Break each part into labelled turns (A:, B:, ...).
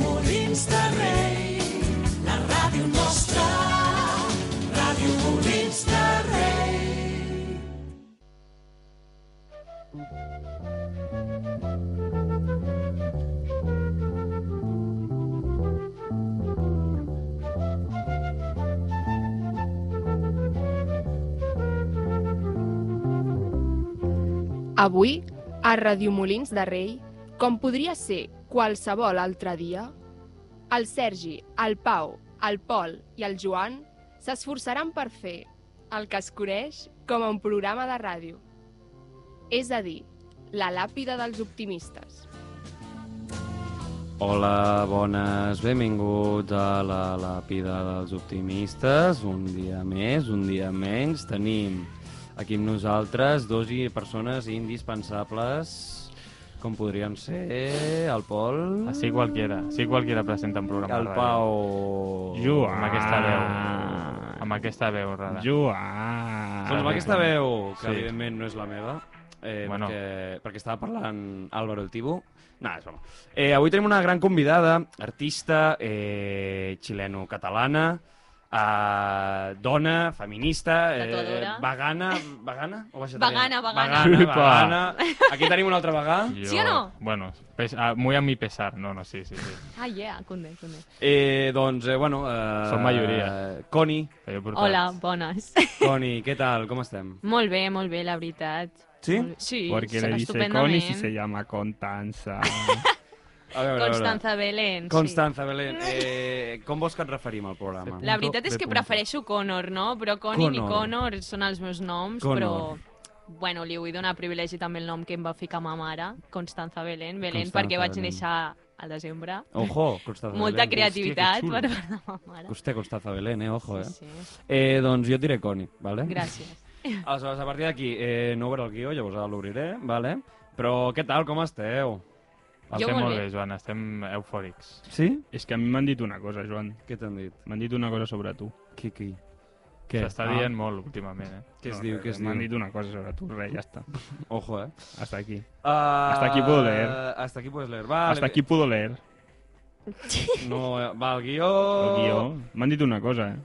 A: Molins de Rei, la ràdio nostra, Ràdio Molins de Rei.
B: Avui, a Radiomolins de Rei, com podria ser qualsevol altre dia, el Sergi, el Pau, el Pol i el Joan s'esforçaran per fer el que es coneix com a un programa de ràdio. És a dir, la làpida dels optimistes.
C: Hola, bones, benvinguts a la Làpida dels Optimistes. Un dia més, un dia menys. Tenim aquí amb nosaltres dos i persones indispensables, com podrien ser el Pol...
D: Així qualquiera, sí qualquiera presenta un programa
C: El
D: de ràdio.
C: Pau...
E: Joan.
D: Amb aquesta veu.
E: ah.
D: Amb aquesta veu rara.
E: Joan!
C: Doncs amb aquesta veu, que
D: Sí.
C: evidentment no és la meva, eh,
D: Bueno.
C: perquè, perquè estava parlant Álvaro el Tibu. No, és broma. Eh, avui tenim una gran convidada, artista, eh, xileno-catalana, eh, dona, feminista, eh,
F: Tatuadora.
C: vegana, vegana o vegetariana?
F: Vegana, vegana.
C: Vegana,
D: Epa.
C: vegana. Aquí tenim una altra vegana.
D: Jo-
F: ¿Sí o no?
D: Bueno, pes- ah, muy a mi pesar. No, no, sí, sí, sí.
F: Ah, yeah, Cunde, Cunde.
C: Eh, doncs, eh, bueno... Eh,
D: Som majoria.
C: Eh, Coni,
D: Que jo he portat.
F: Hola, bones.
C: Coni, què tal? Com estem?
F: molt bé, molt bé, la veritat.
C: Sí?
F: Molt- Sí,
E: Porque
F: se-
E: le dice Connie
F: estupendament.
E: si se llama Constanza.
C: A veure, a veure.
F: Constanza Belén,
C: Constanza Belén, eh, com vols que et referim al programa?
F: sí. La veritat
D: Punto
F: és
D: de
F: que
D: punto.
F: prefereixo Connor, no? Però Connie
C: Connor.
F: i Connor són els meus noms,
C: Connor.
F: però... Bueno, li vull donar privilegi també el nom que em va ficar ma mare, Constanza Belén, Belén,
C: Constanza
F: perquè vaig
C: Belén.
F: néixer al desembre.
C: Ojo, Constanza
F: Molta
C: Belén.
F: creativitat
D: xulo.
F: per part de ma mare.
C: Hòstia, Constanza Belén, eh? Ojo, eh?
F: Sí, sí.
C: eh doncs jo et diré Coni, vale?
F: Gràcies.
C: Aleshores, a partir d'aquí, eh, no obre el guió, llavors ara l'obriré, vale? Però què tal, com esteu?
F: Jo
D: Estem
F: molt
D: molt
F: bé.
D: bé, Joan, estem eufòrics.
C: Sí?
E: és que a mi m'han dit una cosa, Joan.
C: Què t'han dit?
E: M'han dit una cosa sobre tu.
C: Qui, qui? Què? Ah,
D: S'està
E: Ah.
D: dient molt últimament, eh?
C: Què es
E: No,
C: diu,
E: res,
C: què es
E: M'han
C: diu?
E: dit una cosa sobre tu, res, ja està.
C: Ojo, eh?
E: Hasta aquí.
C: Uh, hasta
E: aquí puedo leer.
C: Hasta aquí puedes leer, vale.
E: Hasta aquí puedo leer
C: No, eh, va, el guió...
D: Oh.
E: el guió. M'han dit una cosa, eh?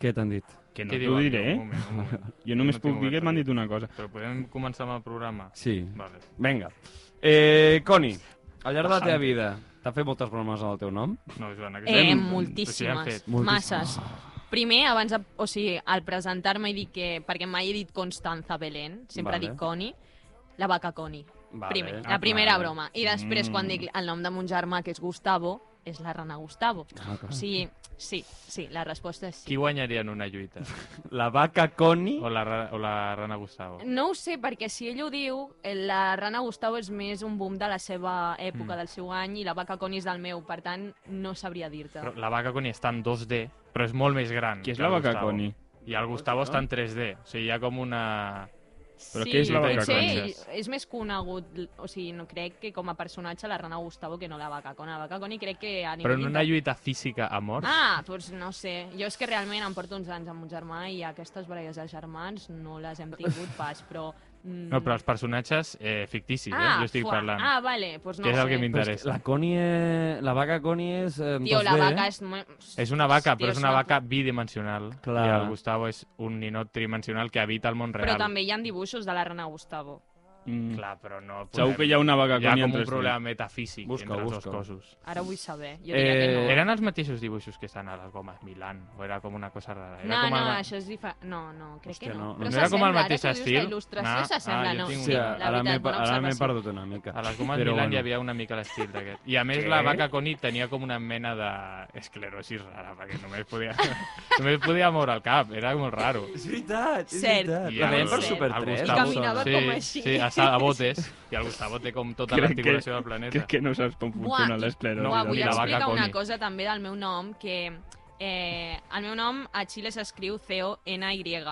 C: Què t'han dit?
E: Que no
D: Què
E: t'ho
D: diuen? Un
E: diré, eh?
D: moment, un moment.
E: Jo només
D: No tinc
E: puc dir que
D: obert
E: m'han
D: aquí.
E: dit una cosa.
D: Però podem començar amb el programa?
C: Sí.
D: Vale.
C: Vinga. Eh, Coni, al llarg de la teva vida t'han fet moltes bromes en el teu nom?
D: No, Joan, aquest...
F: Eh,
D: O sigui,
F: moltíssimes,
D: han fet.
F: masses. Primer, abans de, o sigui, al presentar-me he dit que, perquè mai he dit Constanza Belén, sempre
C: Vale.
F: dic Coni, la vaca Coni,
C: Vale.
F: primer,
C: Ah,
F: la primera
C: vale.
F: broma. I després,
E: Mm.
F: quan dic el nom de mon germà, que és Gustavo, és la rana Gustavo.
C: Ah, clar.
F: O sigui, sí, sí, la resposta és
D: Qui
F: sí.
D: guanyaria en una lluita?
C: La vaca Coni...
D: O la, ra- o la Rana Gustavo?
F: No ho sé, perquè si ell ho diu, eh, la rana Gustavo és més un boom de la seva època,
D: Mm.
F: del seu any, i la vaca Coni és del meu, per tant, no sabria dir-te.
D: Però la vaca Coni està en 2D, però és molt més gran.
E: Qui és
D: que
E: la
D: el
E: vaca
D: Gustavo.
E: Connie?
D: I el Gustavo està en 3D. O sigui, hi ha com una...
E: Però què és la vaca
F: potser
E: Coni?
F: ell és més conegut, o sigui, no crec que com a personatge la rana Gustavo que no la vaca Coni. La vaca Coni crec que a nivell...
D: Però en una
F: inter-
D: lluita física a mort...
F: Ah, doncs no sé. Jo és que realment em porto uns anys amb un germà i aquestes baralles de germans no les hem tingut pas, però... Mm...
D: No, però els personatges eh, ficticis, eh? Jo estic
F: fuà.
D: parlant.
F: Ah, vale, doncs no
D: Que és
F: sé.
C: Però
D: el que
C: és que
D: m'interessa.
C: La Coni és... La vaca Coni és... Eh, en
F: Tio, la
C: 2D,
F: vaca
C: eh?
F: és... mo-
D: És una vaca,
F: Tio,
D: però és una vaca bidimensional.
C: Clar.
D: I el Gustavo és un ninot tridimensional que habita el món real.
F: Però també hi ha dibuixos de la rana Gustavo.
E: Mm.
D: Clar, però no... Podem...
E: Segur que hi ha una vaca
D: Hi ha
E: Connie
D: com un
E: entre
D: problema metafísic
C: Busca,
D: entre els
C: busca.
D: dos cossos.
F: Ara vull saber. Jo diria
C: Eh,
F: que no.
D: Eren els mateixos dibuixos que estan a les gomes Milan, o era com una cosa rara? Era
F: No,
D: com
F: no,
D: el...
F: això és diferent. No, no, crec
C: Hòstia, no,
F: que no.
C: no.
F: Però
D: No era com el
F: s'assembla, ara
D: mateix
F: que ho dius,
D: estil?
F: La il·lustració
D: Ah,
F: s'assembla,
D: ah, jo
F: no.
D: tinc
C: Sí,
D: una.
F: la
C: ara m'he
F: veritat, bona
C: ara m'he
F: observació.
C: perdut una mica.
D: A les gomes
C: Però
D: Milan
C: bueno.
D: hi havia una mica l'estil d'aquest. I a més
E: Què?
D: la vaca Coni tenia com una mena d'esclerosi rara, perquè només podia, només podia moure el cap, era molt raro.
C: És veritat, és
F: Cert.
C: veritat.
D: I
C: La
D: el-
C: veiem per
F: Cert.
C: Super
D: el
C: 3.
D: Gustavo-
F: I caminava
D: sí,
F: com així.
D: Sí, a, sa- a botes, i el Gustavo té com tota
E: Crec que-
D: l'articulació del planeta.
E: Crec que no saps com funciona
F: i-
E: l'esclerosi.
F: Buah,
D: no,
F: vull
D: ni la vaca
F: explicar una
D: Connie.
F: cosa també del meu nom, que eh, el meu nom a Xile s'escriu C-O-N-Y.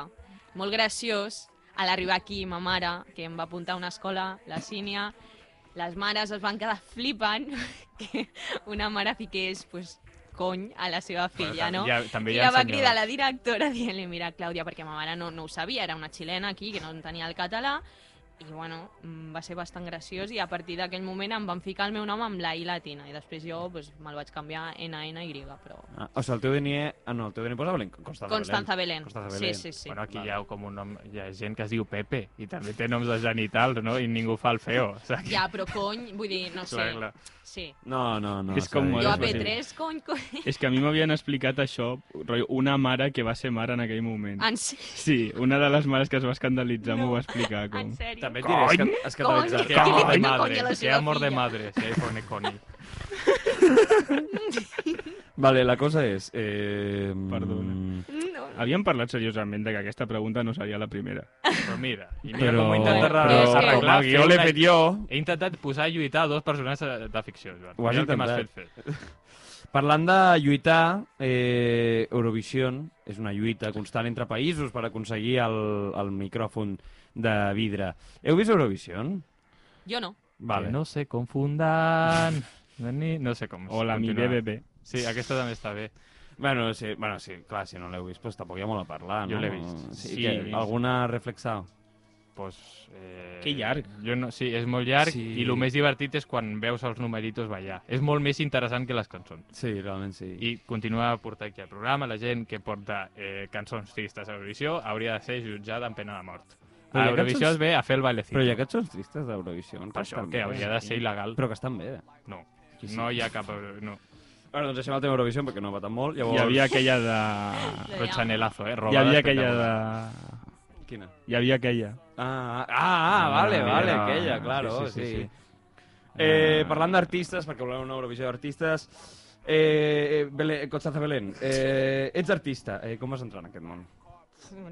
F: Molt graciós. A l'arribar aquí, ma mare, que em va apuntar a una escola, la Sínia, les mares es van quedar flipant que una mare fiqués, pues, cony a la seva filla, no?
D: Ja, també
F: I
D: hi
F: la
D: ha
F: va
D: senyores.
F: cridar la directora dient-li, mira, Clàudia, perquè ma mare no, no ho sabia, era una xilena aquí, que no entenia el català, i bueno, mm, va ser bastant graciós i a partir d'aquell moment em van ficar el meu nom amb la I latina i després jo pues, me'l vaig canviar N-A-N-Y, però...
C: Ah, o sigui, el teu DNI... Ah, no, el teu DNI posa Belén. Constanza,
F: Constanza Belén.
C: Constanza
F: Sí,
C: Belén.
F: sí, sí.
D: Bueno, aquí
C: Vale.
D: hi ha com un nom... Hi ha gent que es diu Pepe i també té noms de genitals, no? I ningú fa el feo. O sigui,
F: Ja, però cony, vull dir, no sé.
D: clar, clar.
F: Sí.
C: No, no, no.
E: És
C: s'ha
E: com
C: dit.
E: molt
F: Jo a
E: específic.
F: P3, cony, cony...
E: És que a mi m'havien explicat això, rotllo, una mare que va ser mare en aquell moment.
F: En, sé-
E: Sí, una de les mares que es va escandalitzar m'ho va explicar. Com...
F: en sèrio.
C: També et diré, es, cat- es catalitzar.
F: Cony!
D: Que amor de
F: Coño,
D: madre,
F: la
D: que
F: seva
D: amor de
F: filla.
D: madre, se pone Connie.
C: Vale, la cosa és... Eh...
E: Perdona.
F: No.
E: Havíem parlat seriosament de que aquesta pregunta no seria la primera.
D: Però mira, i mira
C: Però-
D: com he intentat
F: Bueno,
D: arreglar-
F: però és que-
D: arreglar...
E: Com el guió
D: fer
E: l'he
D: una-
E: fet jo.
D: He intentat posar i lluitar dos personatges de- de ficció, Joan.
C: Ho has
D: Mira el que m'has
C: intentat.
D: fet fer.
C: Parlant de lluitar, eh, Eurovision és una lluita constant entre països per aconseguir el, el micròfon de vidre. Heu vist Eurovision?
F: Jo no.
C: Vale.
D: Que no se confundan... Ni- No sé com.
E: O la mi
D: continuarà.
E: BBB.
D: Sí, aquesta també està bé.
C: Bueno, sí, bueno, sí, clar, si no l'heu vist, doncs tampoc hi ha molt a parlar, no?
D: Jo l'he vist.
C: Sí, que,
D: Sí, l'he vist.
C: alguna reflexada?
D: Pues, eh,
E: Que llarg.
D: Jo no, sí, és molt llarg
C: Sí.
D: sí. i el més divertit és quan veus els numeritos ballar. És molt més interessant que les cançons.
C: Sí, realment sí. I...
D: I continua a portar aquí al programa la gent que porta eh, cançons tristes a Eurovisió hauria de ser jutjada amb pena de mort.
C: Però hi
D: a
C: ha
D: Eurovisió
C: cançons-
D: es ve a fer el bailecito.
C: Però hi ha cançons tristes d'Eurovision.
D: Per això, que hauria de ser il·legal.
C: Però que estan bé.
D: No,
C: eh? Sí, sí.
D: no hi ha cap... No.
C: Bueno, doncs deixem el tema Eurovision perquè no va tan molt. Llavors...
E: Hi havia aquella de...
D: Però xanelazo, eh?
E: Hi
D: Robada
E: havia aquella de...
D: espectacular.
C: Quina?
E: Hi havia aquella.
C: Ah, ah, ah, vale,
E: Ah,
C: vale,
E: mira.
C: aquella, claro, sí. sí, sí, sí. Eh,
E: Ah.
C: parlant d'artistes, perquè volem una Eurovisió d'artistes, eh, eh, Belén, Constanza Belén, eh, ets artista, eh, com vas entrar en aquest món?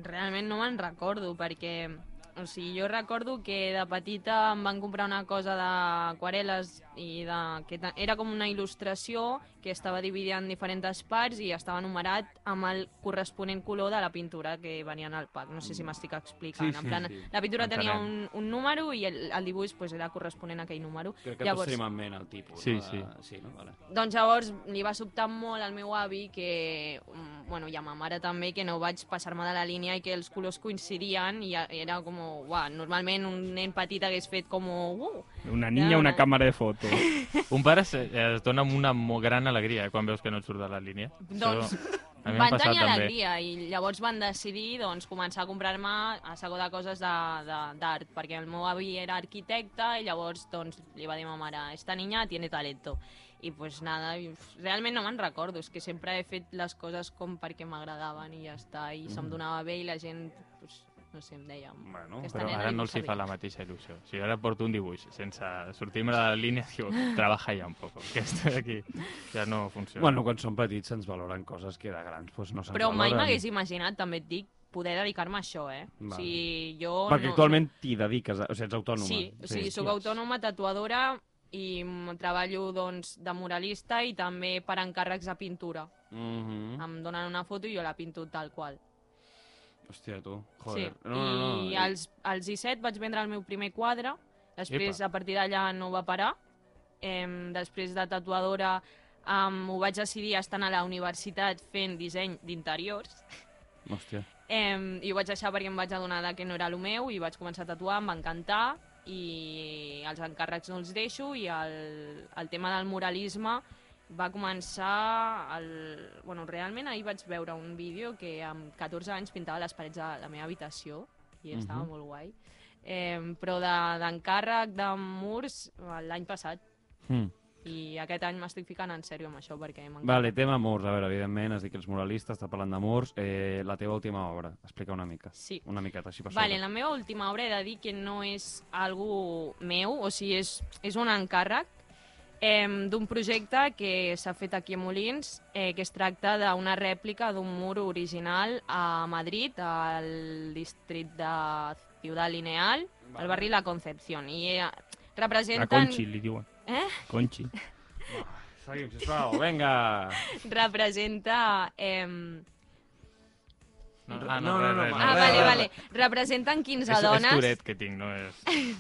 F: Realment no me'n recordo, perquè... O sigui, jo recordo que de petita em van comprar una cosa d'aquarel·les i de, que ta- era com una il·lustració que estava dividida en diferents parts i estava numerat amb el corresponent color de la pintura que venia en el pack. No sé si m'estic explicant.
C: Sí, sí,
F: en plan,
C: sí.
F: La pintura tenia
D: Entenem.
F: un, un número i el, el dibuix pues, era corresponent a aquell número.
C: Crec que Llavors... tots tenim en ment el tipus.
D: Sí,
C: no?
D: sí.
C: sí no? Vale.
F: Doncs llavors li va sobtar molt al meu avi que, mm, bueno, i a ma mare també, que no vaig passar-me de la línia i que els colors coincidien i ja- era com, uah, normalment un nen petit hagués fet com, uh,
E: Una niña, una càmera de foto.
D: Un pare se, es dona amb una mo- gran alegria eh, quan veus que no et surt de la línia.
F: Doncs,
D: Això a mi m'ha
F: van
D: passat
F: tenir
D: també.
F: alegria i llavors van decidir doncs, començar a comprar-me a saco de coses de- de- d'art, perquè el meu avi era arquitecte i llavors doncs, li va dir a ma mare, esta niña tiene talento. I pues nada, i, uf, realment no me'n recordo, és que sempre he fet les coses com perquè m'agradaven i ja està, i
D: Mm.
F: se'm donava bé i la gent, pues, no sé, em deia...
C: Bueno,
F: "Aquesta
D: Però
F: nena
D: ara no els
F: dibuixa
D: hi fa
F: bé".
D: la mateixa il·lusió. Si jo ara porto un dibuix sense sortir-me de la línia, diu, treballa ja un poc, que estoy aquí ja no funciona.
C: bueno, quan som petits se'ns valoren coses que de grans doncs no se'ns
F: Però mai
D: eh?
C: valoren.
F: m'hagués imaginat, també et dic, poder dedicar-me a això, eh?
C: Val.
F: O sigui, jo...
C: Perquè
F: no-
C: actualment t'hi dediques, a- o sigui, ets autònoma.
F: Sí, o sigui, sóc autònoma, tatuadora i mm, treballo doncs, de muralista i també per encàrrecs de pintura.
C: Mm -hmm.
F: Em donen una foto i jo la pinto tal qual.
C: Hòstia, tu, joder.
F: sí.
C: No, no, no.
F: I als, als 17 vaig vendre el meu primer quadre, després
D: Epa.
F: a partir d'allà no va parar. Em, després de tatuadora em, ho vaig decidir estant a la universitat fent disseny d'interiors.
C: eh, Hòstia.
F: Em, I ho vaig deixar perquè em vaig adonar de que no era el meu i vaig començar a tatuar, em va encantar i els encàrrecs no els deixo i el, el tema del muralisme va començar el... Bueno, realment ahir vaig veure un vídeo que amb 14 anys pintava les parets de la meva habitació i estava
C: Mhm.
F: molt guai. Eh, però de- d'encàrrec de, de murs l'any passat
C: Mm.
F: i aquest any m'estic ficant en sèrio amb això perquè m'encanta.
C: Vale, tema amors. A veure, evidentment, has dit que ets moralista, està parlant d'amors. Eh, la teva última obra, explica una mica.
F: Sí.
C: Una miqueta, així per
F: Vale,
C: sobre.
F: la meva última obra he de dir que no és algú meu, o sigui, és, és un encàrrec eh, d'un projecte que s'ha fet aquí a Molins, eh, que es tracta d'una rèplica d'un mur original a Madrid, al districte de Ciudad Lineal, al barri La Concepción. I eh,
E: A
F: representen...
E: Conchi, li diuen.
F: Eh?
E: Conchi.
C: Seguim, sisplau, vinga!
F: Representa... Eh,
D: No,
C: No, no, no,
F: ah,
C: Vale,
F: vale,
C: vale.
F: vale. Representen 15
D: és, és
F: dones...
D: Tourette que tinc, no és...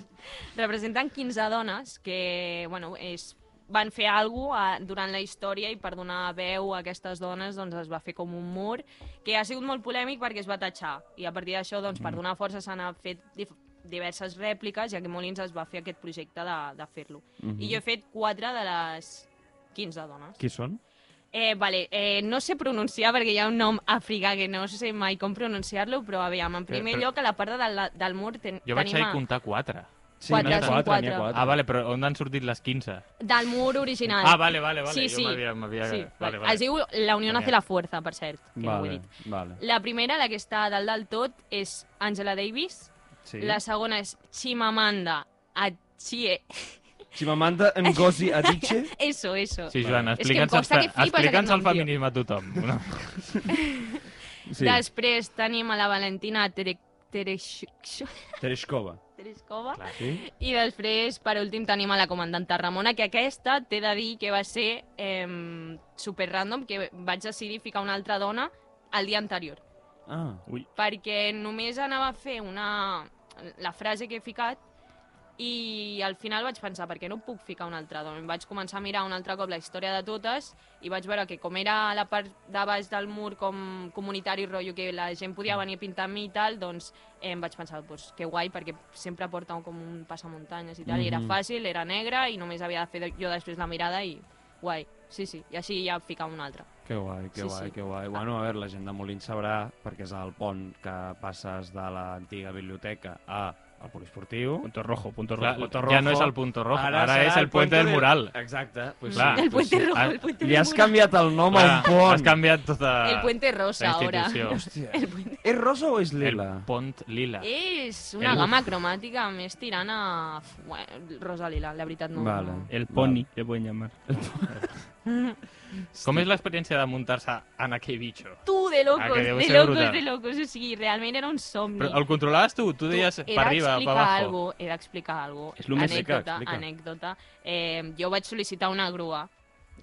F: representen 15 dones que, bueno, és, van fer alguna cosa ah, durant la història i per donar veu a aquestes dones doncs es va fer com un
D: Mm.
F: mur que ha sigut molt polèmic perquè es va tatxar i a partir d'això doncs, per donar força s'han fet dif diverses rèpliques, ja que Molins es va fer aquest projecte de, de fer-lo.
C: Mm
F: I jo
D: Mm-hmm.
F: he fet quatre de les 15 dones.
C: Qui són?
F: Eh, vale, eh, no sé pronunciar perquè hi ha un nom africà que no sé mai com pronunciar-lo, però aviam, en primer
D: Eh, però-
F: lloc a la part de la, del mur ten,
D: Jo vaig
F: tenim
D: saber
F: a,
D: comptar quatre.
C: Sí,
F: Quatre,
C: n'hi ha
F: són
C: quatre, n'hi ha
F: quatre.
C: quatre.
D: Ah, vale, però on han sortit les 15?
F: del mur original.
D: Ah, vale, vale, vale.
F: Sí,
D: jo
F: sí.
D: m'havia- m'havia...
F: Sí,
D: vale,
F: Es
D: vale.
F: diu La Unió
D: Genial.
F: hace la fuerza, per cert, que no ho he
C: Vale,
F: dit.
C: vale.
F: La primera, la que està a dalt del tot, és Angela Davis.
C: Sí.
F: La segona és Chimamanda Achie.
C: Chimamanda Ngozi Adichie.
F: Eso, eso.
D: Sí, Joan,
C: Vale.
F: És que em
D: explica'ns els
F: consta
D: fe-
F: que flipes aquest
D: explica'ns el
F: nom, tio.
D: feminisme a tothom. Una...
C: Sí,
F: Després tenim a la Valentina Tere... Tereshkova.
C: Tereshkova.
F: Tereshkova.
D: Clar.
C: Sí?
F: I després, per últim, tenim a la comandanta Ramona, que aquesta t'he de dir que va ser eh, super random, que vaig decidir ficar una altra dona el dia anterior.
C: Ah,
F: Perquè només anava a fer una... la frase que he ficat i al final vaig pensar, per què no puc ficar una altra dona? Em Vaig començar a mirar un altre cop la història de totes i vaig veure que com era la part de baix del mur com comunitari, rotllo que la gent podia venir a pintar amb mi i tal, doncs eh, em vaig pensar, pues, que guai, perquè sempre porta un- com un passamuntanyes i tal, i era
C: Mhm.
F: fàcil, era negra i només havia de fer de- jo després la mirada i guai, sí, sí, i així ja ficar una altra.
C: que guai, que
F: Sí,
C: guai,
F: sí.
C: que guai. Bueno, a veure, la gent de Molins sabrà, perquè és el pont que passes de l'antiga biblioteca a al poliesportiu.
E: Punto rojo, punto
D: Clar,
E: rojo.
C: Punto
D: ja
C: rojo.
D: no és el punto rojo, ara,
C: serà
D: és el puente del mural.
C: Exacte. Pues,
D: Clar.
F: el puente
C: sí.
F: rojo,
D: ah,
F: el puente
C: Li
F: del
C: has
F: mur.
C: canviat el nom a un pont.
D: Has canviat tota
F: El puente rosa,
D: la
F: ahora.
D: institució.
C: Hòstia.
F: El puente...
C: És rosa o és
D: El
C: lila?
D: pont lila.
F: Eh, És una
D: El-
F: gamma cromàtica més tirant a... Bueno, rosa lila, la veritat no...
C: Vale.
F: no.
E: El pony, le pueden llamar.
D: Com és l'experiència de muntar-se en aquell bitxo?
F: Tu, de locos,
D: Ah, que deu
F: de
D: ser
F: locos,
D: brutal.
F: de locos, o sigui, realment era un somni.
D: Però el controlaves tu? Tu
F: Tu,
D: deies
F: he
D: per arriba, per
F: d'explicar
D: abajo.
F: algo, he d'explicar alguna
E: És
F: cosa.
E: lo més-
F: anècdota,
C: Explica, explica.
F: anècdota. Eh, jo vaig sol·licitar una grua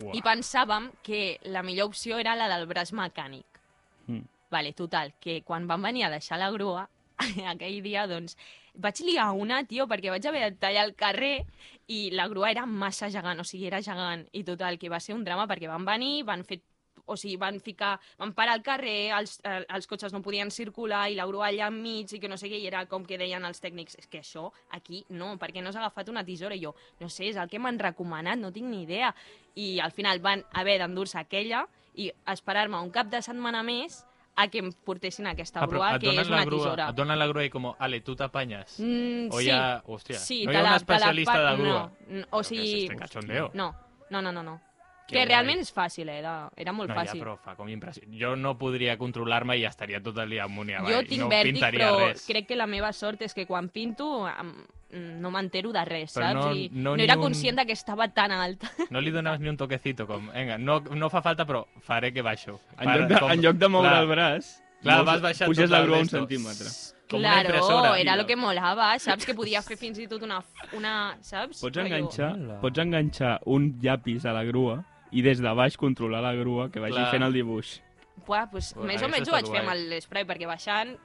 E: Uah.
F: i pensàvem que la millor opció era la del braç mecànic.
E: Mm.
F: Vale, total, que quan van venir a deixar la grua, aquell dia, doncs, vaig liar una, tio, perquè vaig haver de tallar el carrer i la grua era massa gegant, o sigui, era gegant. I total, que va ser un drama perquè van venir, van fer o sigui, van ficar, van parar al carrer, els, eh, els cotxes no podien circular i la grua allà enmig i que no sé què, i era com que deien els tècnics, és que això aquí no, perquè no has agafat una tisora. I jo, no sé, és el que m'han recomanat, no tinc ni idea. I al final van haver d'endur-se aquella i esperar-me un cap de setmana més a que em portessin aquesta
D: Ah, però
F: grua,
D: et
F: que
D: donen
F: és una
D: la grua,
F: tisora.
D: Et donen la grua i com, ale, tu t'apanyes.
F: Mm,
D: O
F: sí,
D: hi ha... Hòstia,
F: sí,
D: no
F: te
D: hi ha
F: la-
D: un
F: te la
D: especialista
F: pa-
D: de grua.
F: No, no o sigui...
D: Però què és este cachondeo?
F: No, no, no, no. no.
D: Que
F: Que
D: guai.
F: realment és fàcil, eh? Era, era molt
D: No, ja,
F: fàcil.
D: però fa com impressió. Jo no podria controlar-me i estaria tot el dia amunt i avall.
F: Jo tinc
D: no
F: vèrtic,
D: pintaria
F: però
D: res.
F: crec que la meva sort és que quan pinto em- mm, no m'entero de res,
D: Però
F: saps?
D: no-
F: I
D: no ni
F: era
D: un-
F: conscient de que estava tan alta.
D: No li donaves ni un toquecito, com, vinga, no, no fa falta, però faré que baixo.
E: En lloc de, en lloc de moure el braç,
D: Clar,
E: mous-
D: vas baixant
E: puges
D: tot
E: la
D: el
E: grua un
D: resto.
E: centímetre.
D: Com una
F: claro,
D: impressora,
F: era
D: tio.
F: el que molava, saps? Que podia fer fins i tot una... una saps?
E: Pots
F: Rotllo-
E: enganxar,
C: Hola.
E: pots enganxar un llapis a la grua i des de baix controlar la grua que vagi
D: Clar.
E: fent el dibuix.
F: Buah, pues,
D: Bueno,
F: més
D: això
F: o menys
D: està
F: ho vaig
D: guai.
F: fer amb l'espray, perquè baixant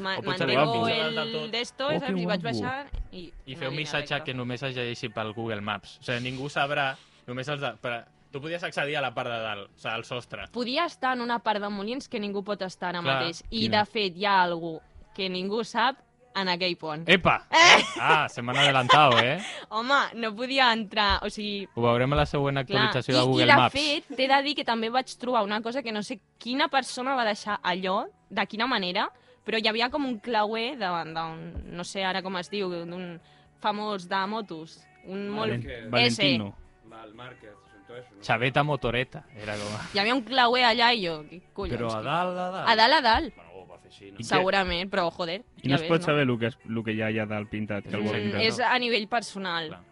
F: ma-
D: O pots
E: arribar
F: mantengo
E: fins
D: a dalt del tot.
F: el d'esto,
C: Oh, que
F: saps? I vaig
C: guapo.
F: baixant i...
D: I
F: una
D: fer un
F: línia
D: missatge
F: recta.
D: que només es llegeixi pel Google Maps. O sigui, ningú sabrà, només els de... Però tu podies accedir a la part de dalt, o sigui, al sostre.
F: podia estar en una part de Molins que ningú pot estar ara
D: Clar,
F: mateix. I,
E: quina?
F: de fet, hi ha algú que ningú sap en aquell pont.
D: Epa! Eh? Ah, se m'han adelantat, eh?
F: Home, no podia entrar, o sigui...
D: Ho veurem a la següent
F: Clar,
D: actualització
F: i,
D: de
F: i
D: Google
F: de
D: Maps.
F: fet, t'he de dir que també vaig trobar una cosa que no sé quina persona va deixar allò, de quina manera, però hi havia com un clauer davant d'un, no sé ara com es diu, d'un famós de motos. Un molt...
E: Valent- Valentino.
C: Val, Márquez, s'entès, no?
D: Xaveta Motoreta, era com... a-
F: Hi havia un clauer allà i jo, què collons?
C: Però a
F: tio?
C: dalt, a dalt.
F: a dalt, a dalt,
C: Bueno, ho va fer així, no?
E: I què?
F: segurament, però joder,
E: I no
F: ja
E: es pot
F: ves,
E: saber el que, és, el que hi ha allà dalt pintat. Que el
D: Mm,
E: vol pintar.
F: és a nivell personal.
D: Clar.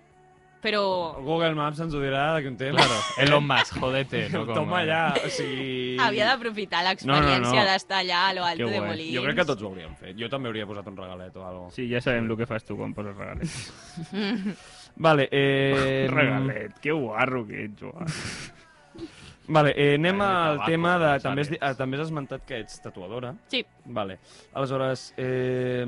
F: Però...
C: El Google Maps ens ho dirà d'aquí un temps.
D: Claro, Elon Musk, jodete. No, eh.
C: Claro. Toma allà, o sigui...
F: Havia d'aprofitar l'experiència
C: No, no, no.
F: d'estar allà a lo alto
E: Que
F: de
E: guai.
F: Molins.
C: Jo crec que tots ho hauríem fet. Jo també hauria posat un regalet o alguna
E: Sí, ja sabem el que fas tu quan poses regalet.
C: Vale, eh...
E: regalet, que guarro que ets, Joan.
C: Vale, eh, anem
D: Ai,
C: al
D: tabaco,
C: tema de...
D: González.
C: També has, di- ah, també has esmentat que ets tatuadora.
F: Sí,
C: Vale. Aleshores, eh...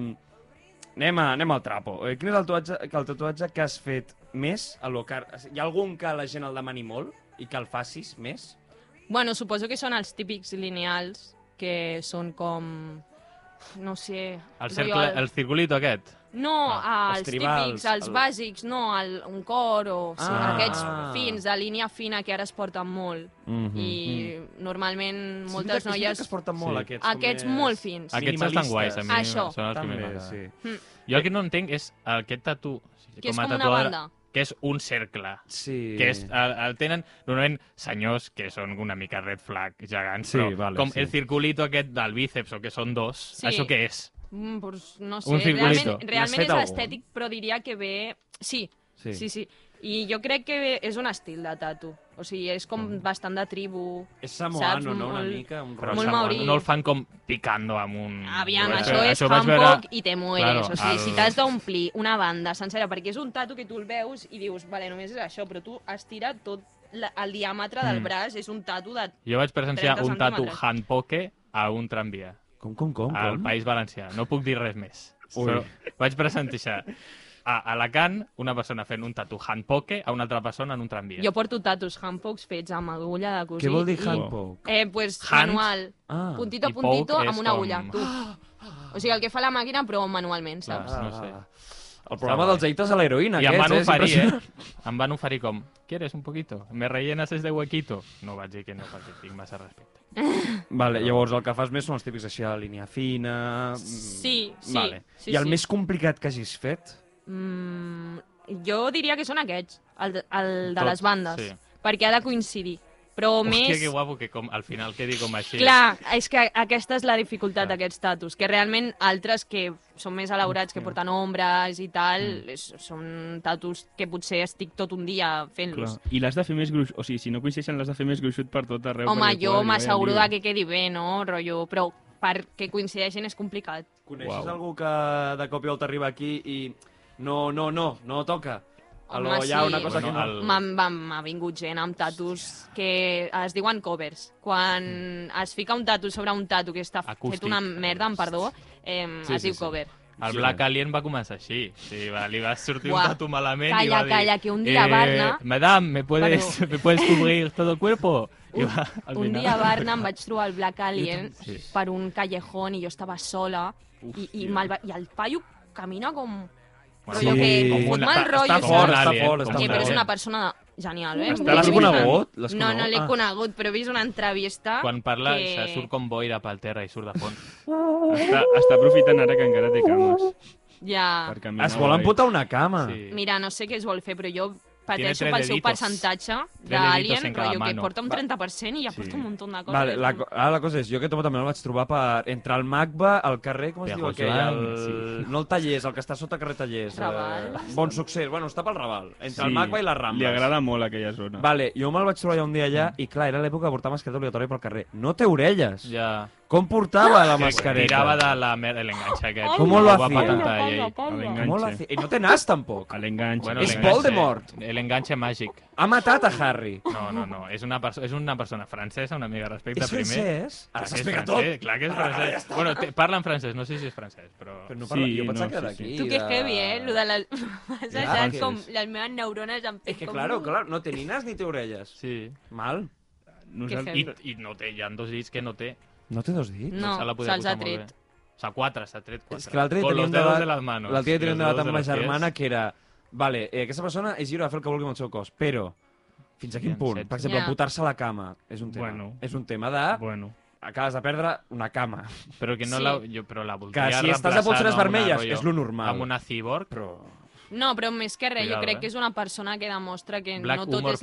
C: anem, a, anem al trapo. Eh, quin és el tatuatge, que el tatuatge que has fet més? A lo que... Hi ha algun que la gent el demani molt i que el facis més?
F: bueno, suposo que són els típics lineals que són com... No sé...
D: El,
F: rotllo
D: cercle, el circulito aquest.
F: No,
C: Ah, els
F: als
C: tribals,
F: típics, als
C: el-
F: bàsics, no, al, un cor o sí,
C: Ah.
F: aquests fins de línia fina que ara es porten molt.
C: Mm -hmm.
F: I normalment moltes noies...
C: Que es porten molt,
D: Sí.
C: aquests. com
F: Aquests
C: més-
F: molt fins.
D: Aquests estan guais, a mi
F: Minimalistes. Ah, Això.
D: són els que
C: També,
D: m'agraden.
C: sí.
D: Jo el que no entenc és aquest tatu... o sigui,
F: Que és
D: a
F: com una
D: tatuador,
F: banda.
D: Que és un cercle.
C: Sí.
D: Que és, el, el tenen normalment senyors que són una mica red flag gegants,
C: Sí,
D: però
C: vale,
D: com
C: sí.
D: el circulito aquest del bíceps, o que són dos,
F: Sí.
D: això què és?
F: Mm, pues, no sé,
D: Un circulito.
F: realment,
C: N'has
F: realment
C: fet
F: és
C: algun?
F: estètic, però diria que ve... Sí,
C: Sí.
F: sí, sí. I jo crec que és un estil de tatu. O sigui, és com
C: Mhm.
F: bastant de tribu.
C: És samoano,
F: Saps?
C: no? Una
F: Molt-
C: mica... Un
D: Però el
F: Molt
C: rotllo.
D: Samoan
F: maori.
D: No el fan com picando amb un...
F: Aviam,
D: Jo vaig
F: això
D: veure-
F: és
D: vaig
F: fan
D: veure-
F: poc i te mueres.
D: Claro,
F: o sigui,
D: el-
F: si t'has d'omplir una banda sencera, perquè és un tatu que tu el veus i dius, vale, només és això, però tu estira tot la, el diàmetre del
D: Mm.
F: braç, és un tatu de...
D: Jo vaig presenciar
F: 30
D: un tatu
F: centímetres.
D: handpoke a un tramvia,
C: Com, com, com?
D: al
C: com?
D: País Valencià. No puc dir res més.
C: Ui.
D: Però vaig presenciar a Alacant una persona fent un tatu handpoke a una altra persona en un tramvia.
F: Jo porto tatus handpokes fets amb agulla de cosir.
C: Què vol dir
F: i-
C: handpoke?
F: Eh, pues,
D: Hand?
F: manual.
C: Ah.
F: Puntito a
D: I
F: puntito
D: poke
F: amb
D: és
F: una
D: com-
F: agulla. Tu. O sigui, el que fa la màquina, però manualment,
D: Clar.
F: saps?
D: no sé.
C: Ah, El programa
D: guai.
C: dels aites Ah, a l'heroïna,
D: I em van
C: aquest,
D: oferir,
C: és impressionant.
D: eh? Em van oferir com, ¿quieres un poquito? ¿Me rellenas este huequito? No vaig dir que no, perquè tinc massa respecte.
C: Vale, llavors el que fas més són els típics així a la línia fina... mm,
F: Sí, sí,
C: Vale.
F: sí,
C: I el
F: sí.
C: més complicat que hagis fet?
F: Mm, jo diria que són aquests, el, de- el de
D: Tots,
F: les bandes,
D: sí.
F: perquè ha de coincidir. Però
D: Hòstia,
F: més...
D: que guapo que com, al final quedi com així.
F: Clar, és que aquesta és la dificultat
D: Clar.
F: d'aquests tatus, que realment altres que són més elaborats, que porten ombres i tal,
D: Mm.
F: és, són tatus que potser estic tot un dia
E: Clar.
F: fent-los.
E: I l'has de fer més gruixut, o sigui, si no coincideixen, l'has de fer més gruixut per tot arreu.
F: Home,
E: perquè,
F: jo
E: clar,
F: m'asseguro
E: vaya
F: de
E: lío.
F: que quedi bé, no, rotllo, però perquè coincideixin és complicat.
C: Coneixes
E: Uau.
C: algú que de cop i volta arriba aquí i... No, no, no, no toca. Alò,
F: Home,
C: hi ha
F: sí.
C: una cosa
D: Bueno,
C: que no...
D: el-
F: M'han- M'ha m'ha vingut gent amb tatus que es diuen covers. Quan es fica un tatu sobre un tatu que està
D: Mm. Acústic.
F: fet una merda, amb perdó, eh,
D: Sí,
F: es
D: sí,
F: diu
D: sí.
F: cover.
D: El Black Alien va començar així. Sí, va, li va sortir
F: Buah.
D: un tatu malament i
F: Calla,
D: va dir... "Eh,
F: calla, que un dia Barna-
D: Madame, ¿me puedes,
F: Perdó.
D: ¿me puedes cubrir todo el cuerpo? I
F: Un-
D: va, al
F: Un
D: final-
F: dia a Barna em vaig trobar el Black Alien
D: tam- sí.
F: per un callejón i jo estava sola i, i, me'l va, i el paio camina com...
D: Bueno,
F: Bueno, rotllo que
D: com
F: com fot
D: una-
F: mal
D: està
F: rotllo,
D: fort,
F: saps?
D: està
C: Alien,
D: fort,
C: com
D: està
F: Eh, però és
C: Alien.
F: una persona genial, eh?
C: Està- l'has
F: Vull dir-
C: conegut? L'has
F: No, no
C: conegut?
F: l'he
C: Ah.
F: conegut, però he vist una entrevista...
D: Quan parla,
F: Ah, que-
D: se surt com boira pel terra i surt de fons.
E: Està, està aprofitant ara que encara té
F: Uh.
E: cames.
F: Ja...
E: Per caminar
C: Ah. Es volen
E: la
C: putar una cama.
D: Sí.
F: Mira, no sé què es vol fer, però jo pateixo
D: tres
F: pel seu
D: deditos.
F: percentatge
D: Tres deditos
F: d'Alien,
D: en cada
F: rotllo que
D: mano.
F: porta un
C: Va.
F: 30% i ja
D: Sí.
F: porta un munt de coses.
C: Vale, la,
F: És
C: co-
F: com-
C: ara la cosa és, jo aquest home també el vaig trobar per... Entre el Magba, el carrer, com es
D: Pejo
C: diu aquell?
D: Joan,
C: El,
D: sí.
C: No el Tallers, el que està sota carrer Tallers.
F: Raval.
C: Eh, bon succés, bueno, està pel Raval. Entre el Magba i les Rambles.
E: Li agrada molt aquella zona.
C: Vale, jo me'l vaig trobar ja un dia allà i clar, era l'època que portava mascareta obligatòria pel carrer. No té orelles. Ja.
D: Ja...
C: Com portava la
D: Que
C: Ah, mascareta?
D: Tirava de la merda, l'enganxa aquest.
C: Com lo
D: Va
C: hacía?
D: patentar ell.
E: A
C: Com ho la
E: l'enganxe.
C: fe- I no té nas, tampoc.
E: A l'enganxe.
D: Bueno,
C: És
D: l'enganxe-
C: Voldemort.
D: L'enganxe màgic.
C: Ha matat a Harry.
D: No, no, no. És una, perso és una persona francesa, una mica de respecte,
C: És
D: primer.
C: francès? Ara
D: Clar que és
C: s'explica
D: francès,
C: tot. Ah,
D: Clar que és francès. bueno, te, parla en francès, no sé si és francès, però...
C: Però no parla,
E: Sí,
C: jo pensava
E: no,
C: que era
E: sí,
C: d'aquí.
E: sí.
F: Tu que
C: de-
F: heavy, eh? Lo de les... M'has
C: Ja,
F: deixat
D: Ah,
C: que
F: com
C: és.
F: les meves neurones han fet
C: És que,
F: com...
C: claro, claro, no té ni nas ni té orelles.
D: Sí.
C: Mal.
D: I,
E: Nosaltres...
D: I no té, hi ha dos dits que no té.
C: No té dos dits?
F: No,
D: se l'ha podia
F: se'ls ha
D: posar molt
F: tret.
D: bé. O sea, quatre, s'ha tret quatre.
C: És que l'altre dia
D: Con
C: tenia
D: los
C: un
D: dedos
C: debat...
D: de las manos.
C: L'altre dia
D: i
C: tenia un
D: los
C: debat
D: dedos
C: amb
D: de
C: ma
D: los pies.
C: germana que era... Vale, eh, aquesta persona és lliure de fer el que vulgui amb el seu cos, però fins a quin
D: Ja,
C: punt?
D: setze.
C: Per exemple,
F: Ja.
C: putar-se a la cama és un tema.
E: Bueno.
C: És un tema de...
E: Bueno.
C: Acabes de perdre una cama.
D: Però que no
F: Sí.
D: la... Jo, però la voldria
C: Que si estàs
D: reemplaçar,
C: de polseres
D: no, amb una
C: vermelles
D: rotllo-
C: és lo normal.
D: Amb una cyborg,
C: Però...
F: No, però més que res, jo
D: Cuidado,
F: crec
D: eh?
F: que és una persona que demostra que
D: Black
F: no tot
D: Humor
F: és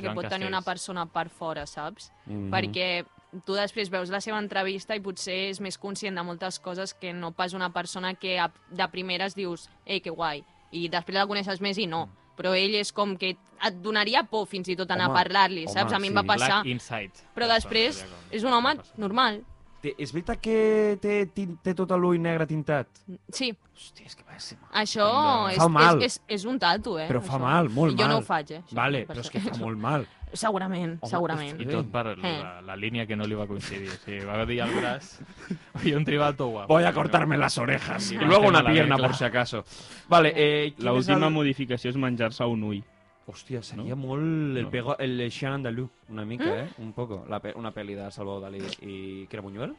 D: Project,
F: que
D: Joan
F: pot tenir una
D: Castells. Mhm.
F: persona per fora, saps?
C: Mm.
F: Perquè tu després veus la seva entrevista i potser és més conscient de moltes coses que no pas una persona que a- de primeres dius, ei, que guai, i després la coneixes més i
D: Mm.
F: no. Però ell és com que et donaria por fins i tot anar
C: Home,
F: a parlar-li,
C: home,
F: saps? A mi em
C: sí,
F: va passar.
D: Black Insight.
F: Però després és un home normal.
C: Té, és veritat que té, tin- té tot l'ull negre tintat?
F: Sí,
C: Hòstia, és que va ser mal.
F: això
D: Doncs-
F: és,
C: Fa mal.
F: és, és, és un tatu, eh?
C: Però fa
F: això.
C: mal, molt
F: Jo no
C: mal.
F: ho faig, eh? això,
C: Vale,
F: per
C: però és
F: això.
C: que fa molt mal.
F: Segurament,
C: Home,
F: segurament.
D: I tot per
F: Eh.
D: la, la línia que no li va coincidir. O sigui, va dir al braç... Oye, un tribal tot guapo.
C: Voy a cortarme las orejas.
D: Sí,
C: Y
D: no
C: luego
D: estem
C: una
D: malament,
C: pierna,
D: clar.
C: por si acaso. Vale, eh... quin és
E: L'última
C: el-
E: modificació és menjar-se un ull.
C: Hòstia, seria no? molt el, pego, el Chien Andalou, una mica, eh? Un poco. La, pe- una pel·li de Salvador Dalí i Crema Buñuel.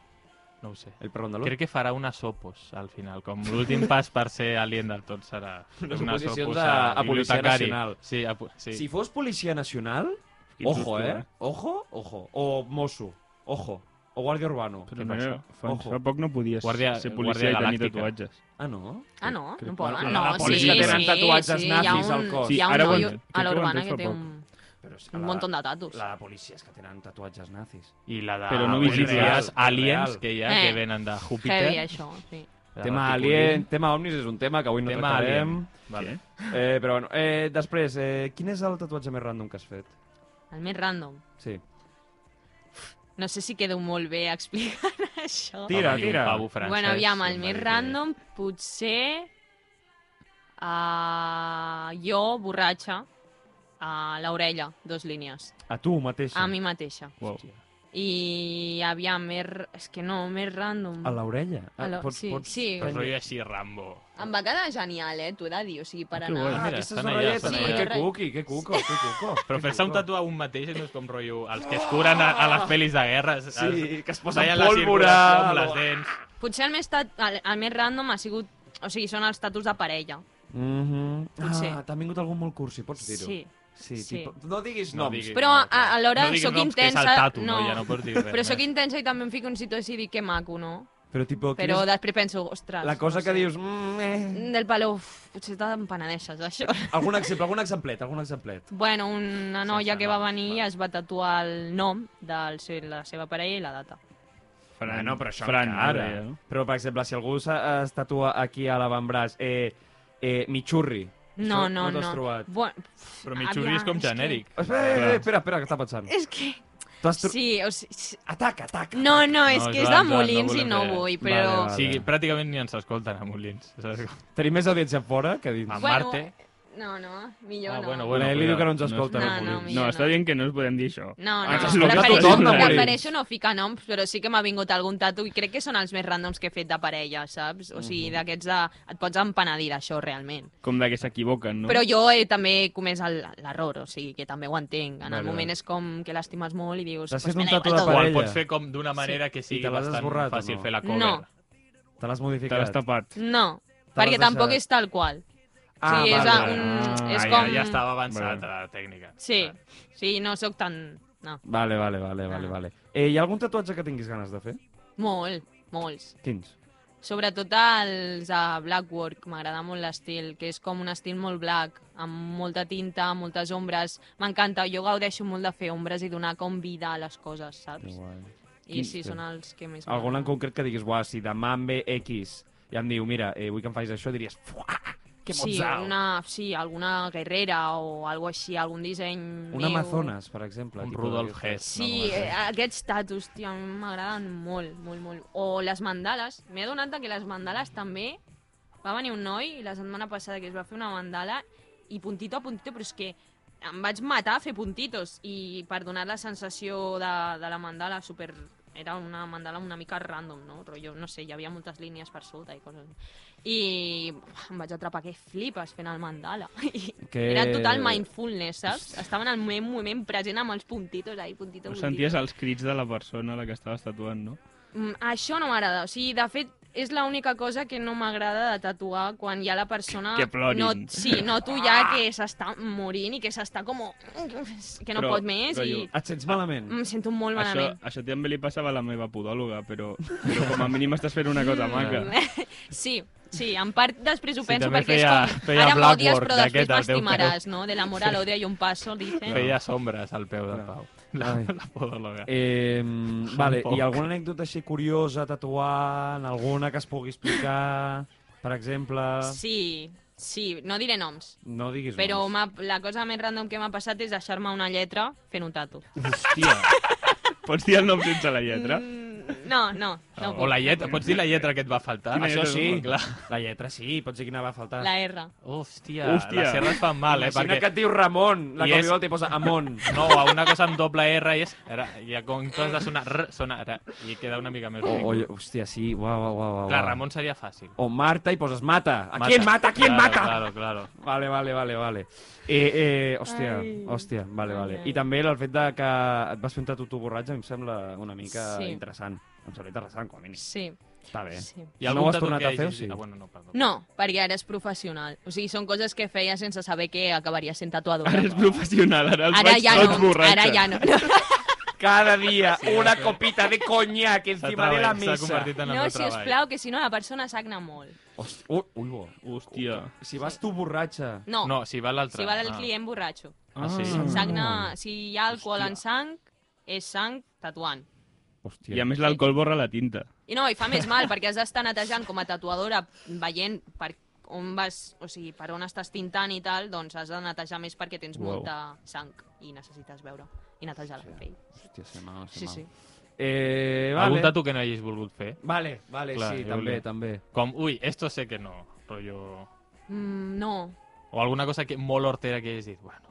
D: No ho sé.
C: El perro andaluz.
D: Crec que farà unes opos al final, com l'últim pas per ser alien del tot serà
C: Unes
D: unes
C: oposicions
D: opos
C: a- a Policia
D: bibliotecari.
C: Nacional.
D: Sí, a, po- sí.
C: Si fos policia nacional,
E: Quin
C: ojo,
E: susto,
C: eh? Ojo, ojo. O mosso, ojo. O guàrdia urbano.
E: Però
D: Què
E: no,
D: passa?
E: era- fa,
C: Ojo.
E: fa poc no podies
D: Guàrdia-
E: ser
D: Guàrdia
E: policia i tenir
D: Galàctica.
E: tatuatges.
C: Ah, no?
F: Ah, no?
E: crec-
F: No poden?
C: bueno,
F: No,
C: la
F: sí,
C: polis
F: sí,
C: que tenen tatuatges nazis
F: sí, hi ha un,
C: al cos.
F: Hi ha
E: Sí,
F: un
E: ara ho
F: noi
E: ent- crec
F: a
E: que ho
F: l'Urbana
E: entès
F: que
E: fa
F: té
E: poc.
F: un,
C: Però és que
F: un
C: la-
F: munt de tatus.
C: La de policies que tenen tatuatges nazis.
D: I la de
E: Però no
D: policies
E: visible.
C: Real,
D: aliens
C: real.
D: que hi ha, que
F: Eh.
D: venen de Júpiter.
F: Heavy, això, sí.
D: de
C: tema
D: Herculín.
C: alien, tema omnis és un tema que avui no
D: Tema
C: tractarem.
D: alien. Vale.
E: Sí.
C: Eh, però bueno, eh, després, eh, quin és el tatuatge més random que has fet?
F: El més random.
C: Sí.
F: No sé si quedo molt bé explicant això.
C: Tira,
D: Va venir un
C: tira.
D: pavo francès
F: bueno, aviam,
D: i
F: el
D: em va
F: més
D: dir que-
F: random potser... Uh, jo, borratxa, a l'orella, dos línies.
C: A tu mateixa.
F: A mi mateixa.
E: Uau.
F: I aviam, més... r- És que no, més random.
C: A l'orella?
F: A la- sí, sí.
D: Però rotllo així, Rambo.
F: Em va quedar genial, eh? T'ho he de dir, o sigui, per
E: Ah, que
F: anar...
E: guai.
C: Ah,
D: Mira,
C: aquestes
D: estan allà,
C: orelletes.
F: estan
C: Sí,
F: allà.
C: que cuqui, que cuco, que cuco.
D: Però
C: que
D: fer-se un
C: cuco.
D: tatu a un mateix no és com rotllo els que es curen a, a les pel·lis de guerra. es- es-
C: Sí, que es posa
D: tallen la
C: pólvora.
D: circulació amb les dents.
F: Potser el més, tat... el, el més random ha sigut... O sigui, són els tatus de parella.
C: Mhm.
F: Potser.
C: Ah, t'ha vingut algú molt cursi, pots dir-ho.
F: Sí.
C: Sí,
F: Sí.
C: tipo, no diguis
D: No
C: noms.
D: diguis.
F: Però
D: No,
F: a,
D: clar.
F: alhora
D: No diguis
F: sóc
D: noms, que és el
F: intensa...
D: tatu, no, ja no pots dir res
F: Però sóc
D: més.
F: intensa i també em fico un situació i dic que maco, no?
C: Però, tipo, quin
F: Però
C: és
F: després penso, ostres...
C: la cosa
F: no
C: que
F: sé.
C: dius... Mm, eh.
F: Del palo, uf, potser t'empanadeixes, això.
C: Algun exemple, algun exemplet, algun exemplet.
F: Bueno, una noia que va
D: noms,
F: venir i
D: va.
F: es va tatuar el nom de la seva parella i la data.
E: Fran,
C: Bueno, Ah, però això
E: Fran,
C: encara.
E: ara, eh?
C: Però, per exemple, si algú s'ha- es tatua aquí a l'avantbraç, eh, eh, Michurri.
F: No,
C: Això
F: no,
C: no t'has
F: no.
C: trobat.
F: Bueno, pf,
D: Però Michurri és
F: aviam,
D: com
F: que-
D: genèric.
C: Espera, eh, eh, espera, espera, que està pensant.
F: És que...
C: Tu has tro...
F: Sí, o sigui,
C: Ataca, ataca.
F: No, no, és
D: Ah, No,
F: que és de
D: Joan, Joan, no
F: Molins i
D: volem
F: no
D: fer-
F: vull,
C: Vale,
F: però...
C: vale.
D: O sigui, pràcticament ni ens escolten a Molins. Saps?
C: Tenim més audiència fora que dins.
D: A
F: Bueno,
D: Marte...
F: No, no, millor
D: Ah,
F: no.
C: Bueno,
D: bueno, bueno.
C: L'Eli
D: cuidado.
C: diu que no ens escolta.
F: No,
C: No,
F: no,
C: no,
F: mi-
E: No, està dient que no ens podem dir això.
F: No, no,
C: Ah,
E: és el que
F: prefereixo,
E: tothom de Molins.
F: prefereixo no ficar noms, però sí que m'ha vingut algun tatu i crec que són els més randoms que he fet de parella, saps? O sigui, d'aquests de... et pots empenedir d'això, realment.
E: Com de que s'equivoquen, no?
F: Però jo he, també he comès el- l'error, o sigui, que també ho entenc. En
C: Vale,
F: el moment
C: vale.
F: és com que l'estimes molt i dius...
C: T'has
F: pues
C: fet un
F: me da igual
C: tatu de
F: tot".
D: O el
C: parella.
D: pots fer com d'una manera que sigui
C: te l'has
D: bastant
C: esborrat o
D: fàcil
C: no?
D: fer la cover.
C: Te
F: No.
C: l'has
E: Te l'has
C: modificat.
E: tapat.
F: No, perquè
C: deixat.
F: tampoc és tal qual.
C: Ah,
F: sí, és,
C: vale,
F: a-
C: vale.
F: un,
E: Ah,
F: és
D: Ah,
F: com...
D: ja, ja estava avançat
E: Vale.
D: a la tècnica.
F: Sí, sí, no sóc tan... No.
C: Vale, vale, vale, vale,
F: Ah.
C: vale. Eh, hi ha algun tatuatge que tinguis ganes de fer?
F: Molt, molts.
C: Quins?
F: Sobretot els de Blackwork, m'agrada molt l'estil, que és com un estil molt black, amb molta tinta, moltes ombres. M'encanta, jo gaudeixo molt de fer ombres i donar com vida a les coses,
C: Que
F: saps?
C: guai.
F: I
C: Quins
F: sí,
C: tens?
F: són els que més
C: Algun en
F: m'agraden.
C: concret que diguis, uah, si demà em ve X i em diu, mira, eh, vull que em facis això, diries, fuà, que
F: Sí,
C: mozal.
F: alguna, sí, alguna guerrera o algo així, algun disseny
C: Un
F: meu.
C: Amazones, per exemple.
D: Un
C: tipus
D: Rudolf
C: d'aquestes.
D: Hess.
F: Sí,
D: no, com
F: eh,
D: es
F: aquests tatus, tio, a mi m'agraden molt, molt, molt. O les mandales. M'he adonat que les mandales també... Va venir un noi la setmana passada que es va fer una mandala i puntito a puntito, però és que em vaig matar a fer puntitos i per donar la sensació de, de la mandala super... Era una mandala una mica random, no? Rotllo, no sé, hi havia moltes línies per sota i coses. I buah, em vaig atrapar que flipes fent el mandala. I
C: Que-
F: Era
D: Eh,
F: total mindfulness, saps? Estava en el meu moment present amb els puntitos, ahí, puntito,
E: No
F: puntito.
E: senties els crits de la persona a la que estaves tatuant, no?
F: Mm, Això no m'agrada. O sigui, de fet, és l'única cosa que no m'agrada de tatuar quan ja la persona...
E: Que plorin.
F: No, sí, noto ja que s'està morint i que s'està com... Que no
E: Però-
F: pot més
E: però
F: i
E: jo-
C: Et sents malament?
F: em sento molt
E: Això,
F: malament.
E: això també li passava a la meva podòloga, però, però com a mínim estàs fent una
F: Mm.
E: cosa maca.
F: Sí, sí, en part després ho
D: Sí,
F: penso
D: també
F: perquè
D: feia-
F: és com...
D: feia
F: ara m'odies
D: Blackwork
F: però després
D: d'aquest al teu
F: m'estimaràs, no? De l'amor a l'odi i un passo, dicen.
D: Feia sombres al peu de
C: No.
D: Pau. La,
C: Ai.
D: la podòloga.
C: Eh, vale,
D: Tampoc.
C: i alguna anècdota així curiosa, tatuant, alguna que es pugui explicar, per exemple...
F: Sí, sí, no diré noms.
C: No diguis
F: Però
C: noms.
F: m'ha- la cosa més random que m'ha passat és deixar-me una lletra fent un tatu.
E: Hòstia. Pots dir el nom sense la lletra?
F: Mm, no, no. no
D: Ah, O la lletra, pots dir la lletra que et va faltar?
E: Quina
D: Això
E: lletra?
D: sí, clar.
C: La lletra sí, pots dir quina va faltar.
F: La R.
D: Hòstia,
E: Hòstia.
D: les serres fan mal, eh?
C: Imagina
D: Perquè...
C: que et diu Ramon, la
D: I
C: que
D: és-
C: és... t'hi posa Amon.
D: No, a una cosa amb doble R i és... Era, ja com en comptes de sonar R, sona R, i queda una mica més
C: O, o,
D: ridícul.
C: hòstia, sí, uau, uau, uau. uau.
D: Clar, Ramon seria fàcil.
C: O Marta i poses mata. A qui en mata? A qui en
D: claro,
C: mata?
D: Claro, claro.
C: Vale, vale, vale, vale. Eh, eh, hòstia,
F: Ai.
C: hòstia, vale, vale.
F: Ai, ai.
C: I també el fet de que et vas fer un tatu tu borratge em sembla una mica
F: Sí.
C: interessant. Consolet de Rasant, com a mínim.
F: Sí,
C: Està bé.
F: sí.
D: I
C: No
D: algun
C: ho has
D: tatu
C: tornat
D: que
C: a fer,
D: hagis-
C: o sí?
D: Ah, bueno, no, perdó.
F: No, perquè ara és professional. O sigui, són coses que feia sense saber que acabaria sent tatuadora.
E: Ara és professional, ara els
F: Ara
E: veig
F: ja
E: tots
F: no,
E: borratxos.
F: ara ja no.
G: Cada día
D: Sí,
G: una
D: sí.
G: copita de coñac
D: S'ha
G: encima de la
D: treballat, s'ha
G: mesa.
D: convertit en el
F: No,
D: meu
F: si us
D: treball.
F: plau, que si no la persona sagna molt.
C: Hosti, ui, ui, bo.
E: Hòstia.
C: Si vas tu borratxa...
F: No,
D: No, si va l'altre.
F: si va del
D: Ah.
F: client borratxo.
D: Ah, sí?
E: Ah.
F: Sagna, si hi ha alcohol
E: Hòstia.
F: en sang, és sang tatuant.
C: Hòstia.
E: I a més l'alcohol borra la tinta.
F: I no, i fa més mal, perquè has d'estar netejant com a tatuadora, veient per on vas, o sigui, per on estàs tintant i tal, doncs has de netejar més perquè tens
E: Uau.
F: molta sang i necessites veure i netejar la pell.
C: Hòstia, se mal, se
F: Sí,
C: mal.
F: sí.
C: Eh, vale.
D: Algun tatu que no hagis volgut fer?
C: Vale, vale,
D: Clar,
C: sí,
D: jo
C: també,
D: volia.
C: també.
D: Com, ui, esto sé que no, rotllo...
F: Mm, no,
D: O alguna cosa que molt hortera que hagis dit, bueno,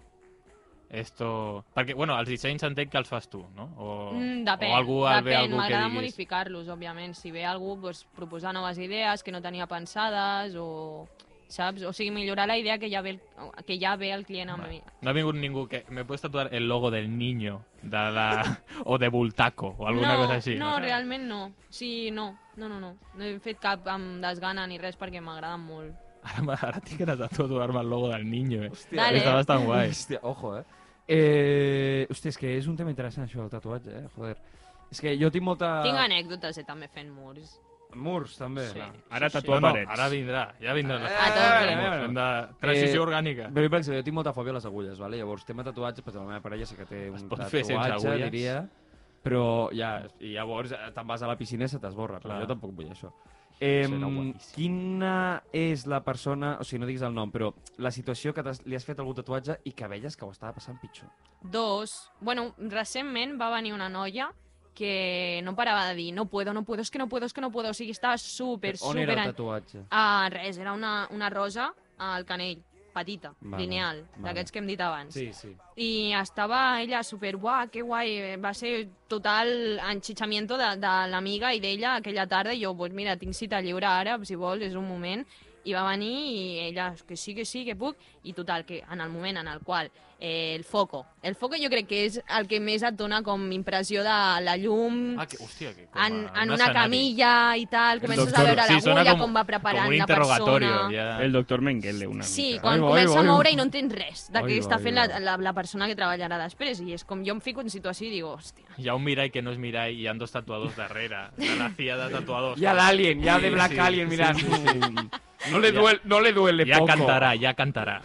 D: esto... Perquè, bueno, els dissenys entenc que els fas tu, no? O,
F: Mm, depèn,
D: o algú al ve
F: depèn.
D: algú que
F: M'agrada
D: diguis...
F: modificar-los, òbviament. Si ve algú, doncs, proposar noves idees que no tenia pensades o... Saps? O sigui, millorar la idea que ja ve el, que ja ve el client amb
D: Vale.
F: mi.
D: No ha vingut ningú que... Me puedes tatuar el logo del niño de la... o de Bultaco o alguna
F: no,
D: cosa així.
F: No,
D: saps?
F: realment no. Sí, no. No, no, no. No he fet cap amb desgana ni res perquè m'agraden molt.
D: Ara, m'ha- ara tinc ganes de tatuar-me el logo del niño, eh?
C: Hòstia,
F: Dale.
D: Està bastant guai.
C: Hòstia, ojo, eh? eh? Hòstia, és que és un tema interessant, això, del tatuatge, eh? Joder. És que jo tinc molta...
F: Tinc anècdotes eh, també fent murs.
C: Murs, també.
F: Sí.
E: Ara
D: No,
E: tatuar
D: no,
E: parets.
D: ara vindrà, ja vindrà.
C: Eh,
F: Ah, tot bé.
D: Vamos, hem de... Transició
C: Eh,
D: orgànica.
C: Però jo, per exemple, jo tinc molta fòbia a les agulles, vale? llavors tema tatuatge, perquè la meva parella sí que té
D: Es
C: un
D: pot
C: tatuatge,
D: fer sense agulles?
C: diria, però ja, i llavors eh, te'n vas a la piscina i se t'esborra, però
D: Clar.
C: jo tampoc vull això. Eh,
D: Serà guapíssim.
C: quina és la persona, o sigui, no diguis el nom, però la situació que t'has- li has fet algun tatuatge i que veies que ho estava passant pitjor.
F: Dos. Bueno, recentment va venir una noia que no parava de dir no puedo, no puedo, es que no puedo, es que no puedo. O sigui, estava súper,
C: On
F: súper...
C: era
F: en-
C: el tatuatge?
F: Ah, res, era una, una rosa al canell, petita,
C: Vale,
F: vale, lineal,
C: vale.
F: d'aquests que hem dit abans.
C: Sí, sí.
F: I estava ella super guà, que guai, eh, va ser total enxitxamiento de, de l'amiga i d'ella aquella tarda, i jo, pues mira, tinc cita lliure ara, si vols, és un moment, i va venir i ella, que sí, que sí, que puc, i total, que en el moment en el qual eh, el foco, el foco jo crec que és el que més et dona com impressió de la llum,
D: Ah, que, hòstia, que com a-
F: en, en
D: un
F: una
D: escenari.
F: camilla i tal, comences a
E: doctor.
F: veure
D: Sí, sona
F: l'agulla,
D: com-
F: com va preparant
D: Com un
F: la
D: interrogatori.
F: persona.
D: Ja...
E: El doctor Mengele, una
F: Sí,
E: mica.
F: quan
C: Ai, va,
F: comença
C: ai,
F: a
C: va, ai.
F: moure i no entens res de
C: Ai,
F: què
C: va,
F: està
C: ai,
F: fent
C: va.
F: la, la, la persona que treballarà després. I és com jo em fico en situació i digo, hòstia,
D: Hi ha un mirall que no és mirall i hi ha dos tatuadors darrere, de la CIA de tatuadors.
G: Y al alien, ya de
D: Sí,
G: Black
D: sí,
G: Alien,
D: sí,
G: mirad.
D: sí,
G: No le
D: Ya.
G: duele, no le duele
D: Ja
G: poco.
D: cantarà, ja cantarà.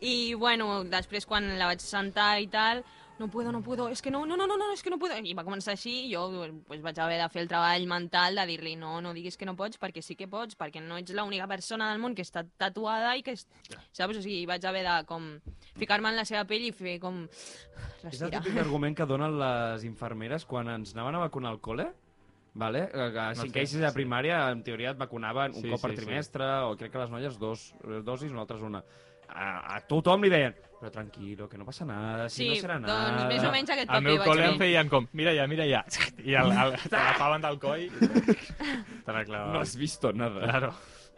F: I bueno, després quan la vaig sentar i tal, no puedo, no puedo, és que no, no, no, no, no, és que no puedo. I va començar així i jo pues, vaig haver de fer el treball mental de dir-li no, no diguis que no pots perquè sí que pots, perquè no ets l'única persona del món que està tatuada i que... Es... Saps? O sigui, vaig haver de com ficar-me en la seva pell i fer com...
C: És el
F: Respirar.
C: típic argument que donen les infermeres quan ens anaven a vacunar al col·le, vale? Eh, que a
D: No
C: cinquè
D: sé,
C: i sisè de
D: sí.
C: primària, en teoria, et vacunaven un
D: Sí,
C: cop per
D: sí, sí.
C: trimestre, o crec que les noies dos eh, dosis, nosaltres una. A, a tothom li deien, però tranquilo, que no passa nada, si no serà nada...
F: doncs més o menys aquest
D: Al
F: paper
D: meu col·le em
F: vaig fer.
D: feien com, mira ja, mira ja, i el, el, te l'agafaven del coll i te la clavaven.
C: No has visto nada.
D: Claro.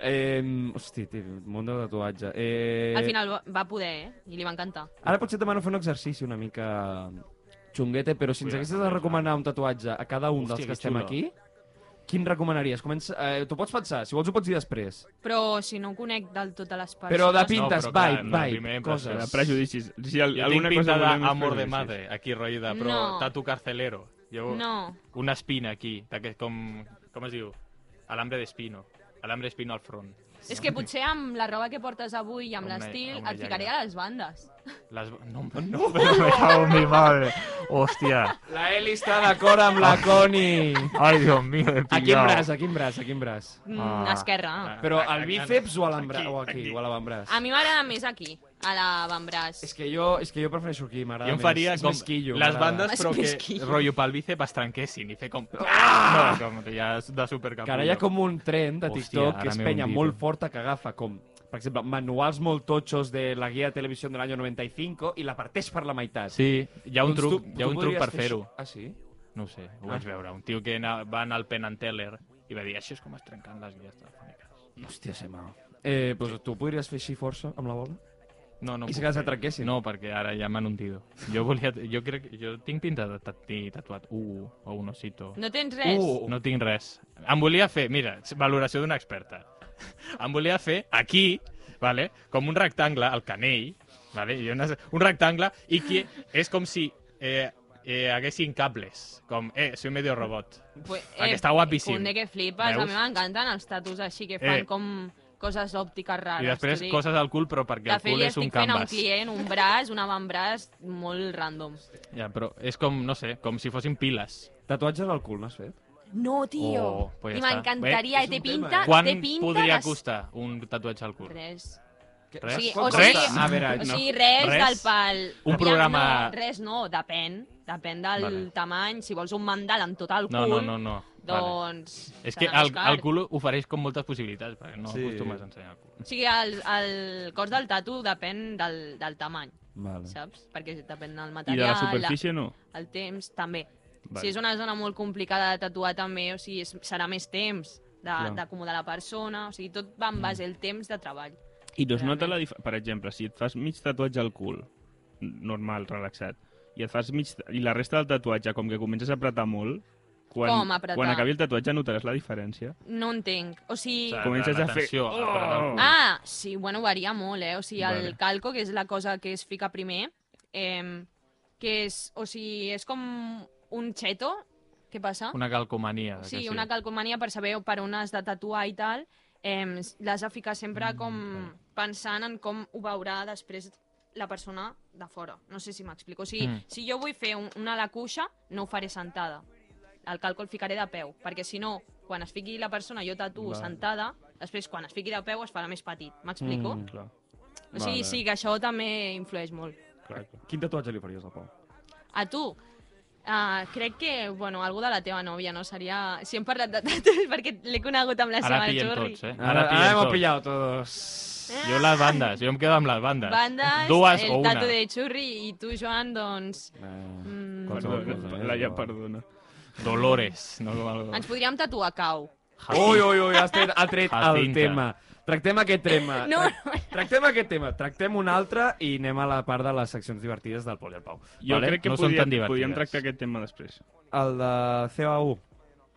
C: Eh, hosti, tio, món del tatuatge. Eh,
F: Al final va- va poder, eh? I li va encantar.
C: Ara potser et demano fer un exercici una mica eh, xunguete, però si ens
D: Cuidado,
C: haguessis de recomanar un tatuatge a cada un
D: Hòstia,
C: dels
D: que
C: que estem
D: xulo.
C: aquí, quin recomanaries? Comença, eh, T'ho pots pensar, si vols ho pots dir després.
F: Però si no conec del tot a les persones...
C: Però de
D: No,
C: pintes,
D: però clar,
C: vibe,
D: la
C: vibe,
D: primera impressió.
C: coses.
E: Prejudicis. Si
D: Jo
E: al,
D: tinc
E: alguna
D: pinta
E: cosa volem és
D: d'amor de
E: prejudicis.
D: madre, aquí, rotllo de, però
F: No.
D: tatu carcelero. Llevo
F: No,
D: una espina aquí, d'aquest com... Com es diu? Alambre d'espino. Alambre d'espino al front.
F: és que potser amb la roba que portes avui i amb
D: Una-
F: l'estil
D: una
F: et ficaré
D: llaga.
F: a les bandes.
D: Las... No, no, no, pero me cago en mi madre. Hòstia.
C: La Eli està d'acord amb la Coni.
D: Ay, Ah. Dios mío, he
C: A quin braç, a quin braç, a quin braç?
F: Mm,
D: Ah.
F: Esquerra.
C: Però al bíceps o a l'embra-
D: Aquí,
C: o aquí,
D: aquí.
C: o a l'avantbraç?
F: A mi m'agrada més aquí, a l'avantbraç.
C: És que jo, és que jo prefereixo aquí, m'agrada
D: Jo em
C: més.
D: faria
C: És
D: com
C: més quillo,
D: les
C: m'agrada.
D: bandes,
F: És
D: però
F: més
D: que
F: quillo.
D: rotllo pel bíceps es trenquessin i fer com...
F: Ah!
D: Ah! No, com que ja és de supercapullo.
C: Que ara hi ha com un tren de
D: Hòstia,
C: TikTok
D: ara
C: que és
D: m'he
C: penya
D: hundit,
C: molt
D: eh.
C: forta que agafa com, per exemple, manuals molt totxos de la guia de televisió de l'any 95 i la parteix per la meitat.
D: Sí, hi ha un
C: Doncs
D: truc, hi ha un truc
C: podries
D: per
C: fer
D: fer-ho.
C: això. Ah, sí?
D: No ho sé, ho
C: Ah.
D: vaig veure. Un tio que na- va anar al Penn and Teller i va dir això és com es trenquen les guies telefòniques.
C: Hòstia, se mal. Eh, doncs tu podries fer així força amb la bola?
D: No, no
C: I si
D: puc
C: que les
D: fer.
C: atraquessin?
D: No, perquè ara ja m'han hundit. Jo volia... Jo crec... Jo tinc pinta de tati, tatuat u o un osito.
F: No tens res.
D: Uh. No tinc res. Em volia fer... Mira, valoració d'una experta. Em volia fer aquí, vale, com un rectangle al canell, vale, i una, un rectangle, i que és com si eh, eh, haguessin cables. Com, eh, soy medio robot.
F: Pues, eh,
D: Perquè està guapíssim.
F: Un de que flipes.
D: Veus?
F: A mi m'encanten els tatus així que fan
D: Eh.
F: com coses òptiques rares.
D: I després
F: t'ho dic.
D: coses al cul, però perquè
F: De
D: el
F: fet,
D: cul
F: li
D: és un
F: estic fent a un
D: canvas.
F: client un braç, un avantbraç molt random.
D: Ja, però és com, no sé, com si fossin piles.
C: Tatuatges al cul, n'has fet?
F: No, tio!
D: Oh, pues ja
F: I
D: està.
F: m'encantaria,
C: Bé,
F: i
C: és
F: té
C: un tema,
F: pinta,
C: eh?
D: Quan
F: té pinta...
D: podria
F: Ah, de-
D: costar un tatuatge al cul?
F: Res.
D: Res?
F: Sí,
D: Quan
F: o
D: costa?
F: sigui-
D: A veure,
F: O
D: no.
F: sigui, res,
D: Res?
F: del pal.
D: Un
F: Aviam,
D: programa-
F: No, res no, depèn. Depèn del
D: Vale.
F: tamany. Si vols un mandal amb tot el
D: No,
F: cul,
D: no, no, no. Vale.
F: doncs...
D: És
F: s'ha
D: que
F: d'anar a
D: el,
F: buscar.
D: el cul ofereix com moltes possibilitats, perquè no
C: Sí.
D: acostumes a ensenyar el cul.
F: O sigui, el, el cos del tatu depèn del, del tamany,
C: Vale.
F: saps? Perquè depèn del
E: I
F: material,
E: de la superfície no.
F: la, el temps, també.
E: Vale.
F: Si és una zona molt complicada de tatuar, també, o sigui, és, serà més temps
C: Clar.
F: d'acomodar la persona, o sigui, tot va en
D: Mm.
F: base al temps de treball.
E: I no es nota
F: Realment.
E: la diferència... Per exemple, si et fas mig tatuatge al cul, normal, relaxat, i et fas mig... I la resta del tatuatge, com que comences a apretar molt, quan,
F: Com apretar?
E: quan acabi el tatuatge notaràs la diferència.
F: No entenc. O sigui...
E: Comences a fer-
D: Atenció, a
C: Oh!
D: parar el cul.
F: Ah, sí, bueno, varia molt, eh? O sigui, el
E: Vale.
F: calco, que és la cosa que es fica primer, eh, que és, o sigui, és com un xeto, què passa?
D: Una calcomania.
C: Ah,
D: que
F: sí, una calcomania per saber per on has de tatuar i tal, eh, l'has de ficar
C: Mm,
F: sempre com pensant en com ho veurà després la persona de fora. No sé si m'explico. O sigui,
D: Mm.
F: si jo vull fer un, una a la cuixa, no ho faré sentada. El càlcul el ficaré de peu, perquè si no, quan es fiqui la persona, jo tatuo
C: Val.
F: sentada, després quan es fiqui de peu es farà més petit. M'explico?
C: Mm,
E: Clar.
F: O sigui,
C: Vale.
F: sí, que això també influeix molt.
C: Clar, clar. Quin tatuatge li faries al Pau?
F: A tu, Uh, crec que, bueno, algú de la teva nòvia, no? Seria... Si hem parlat de tatuatges, perquè l'he conegut amb la
D: Ara
F: Sema
D: pillen
F: Churri.
D: tots, eh? Ara
C: Ah, Ara, ara
D: pillen
C: hemos
D: tots.
C: pillado todos.
D: Jo les bandes, jo em quedo amb les bandes.
F: Bandas,
D: Dues
F: el
D: o una.
F: tatu de Churri i tu, Joan, doncs...
C: Eh,
F: Mm,
C: Qualsevol
E: Perdona,
C: cosa, eh?
E: Laia, perdona.
D: Dolores. No com el...
F: ens podríem tatuar cau.
C: Ui, ui, ui, has tret, ha tret el
D: Jacinta.
C: tema. Tractem aquest tema.
F: No,
C: Trac- Tractem aquest tema, tractem un altre i anem a la part de les seccions divertides del Pol i el Pau.
E: Jo
D: Vale,
E: crec que
D: no són tan
E: podíem,
D: divertides.
E: podíem tractar aquest tema després.
C: El de COA1.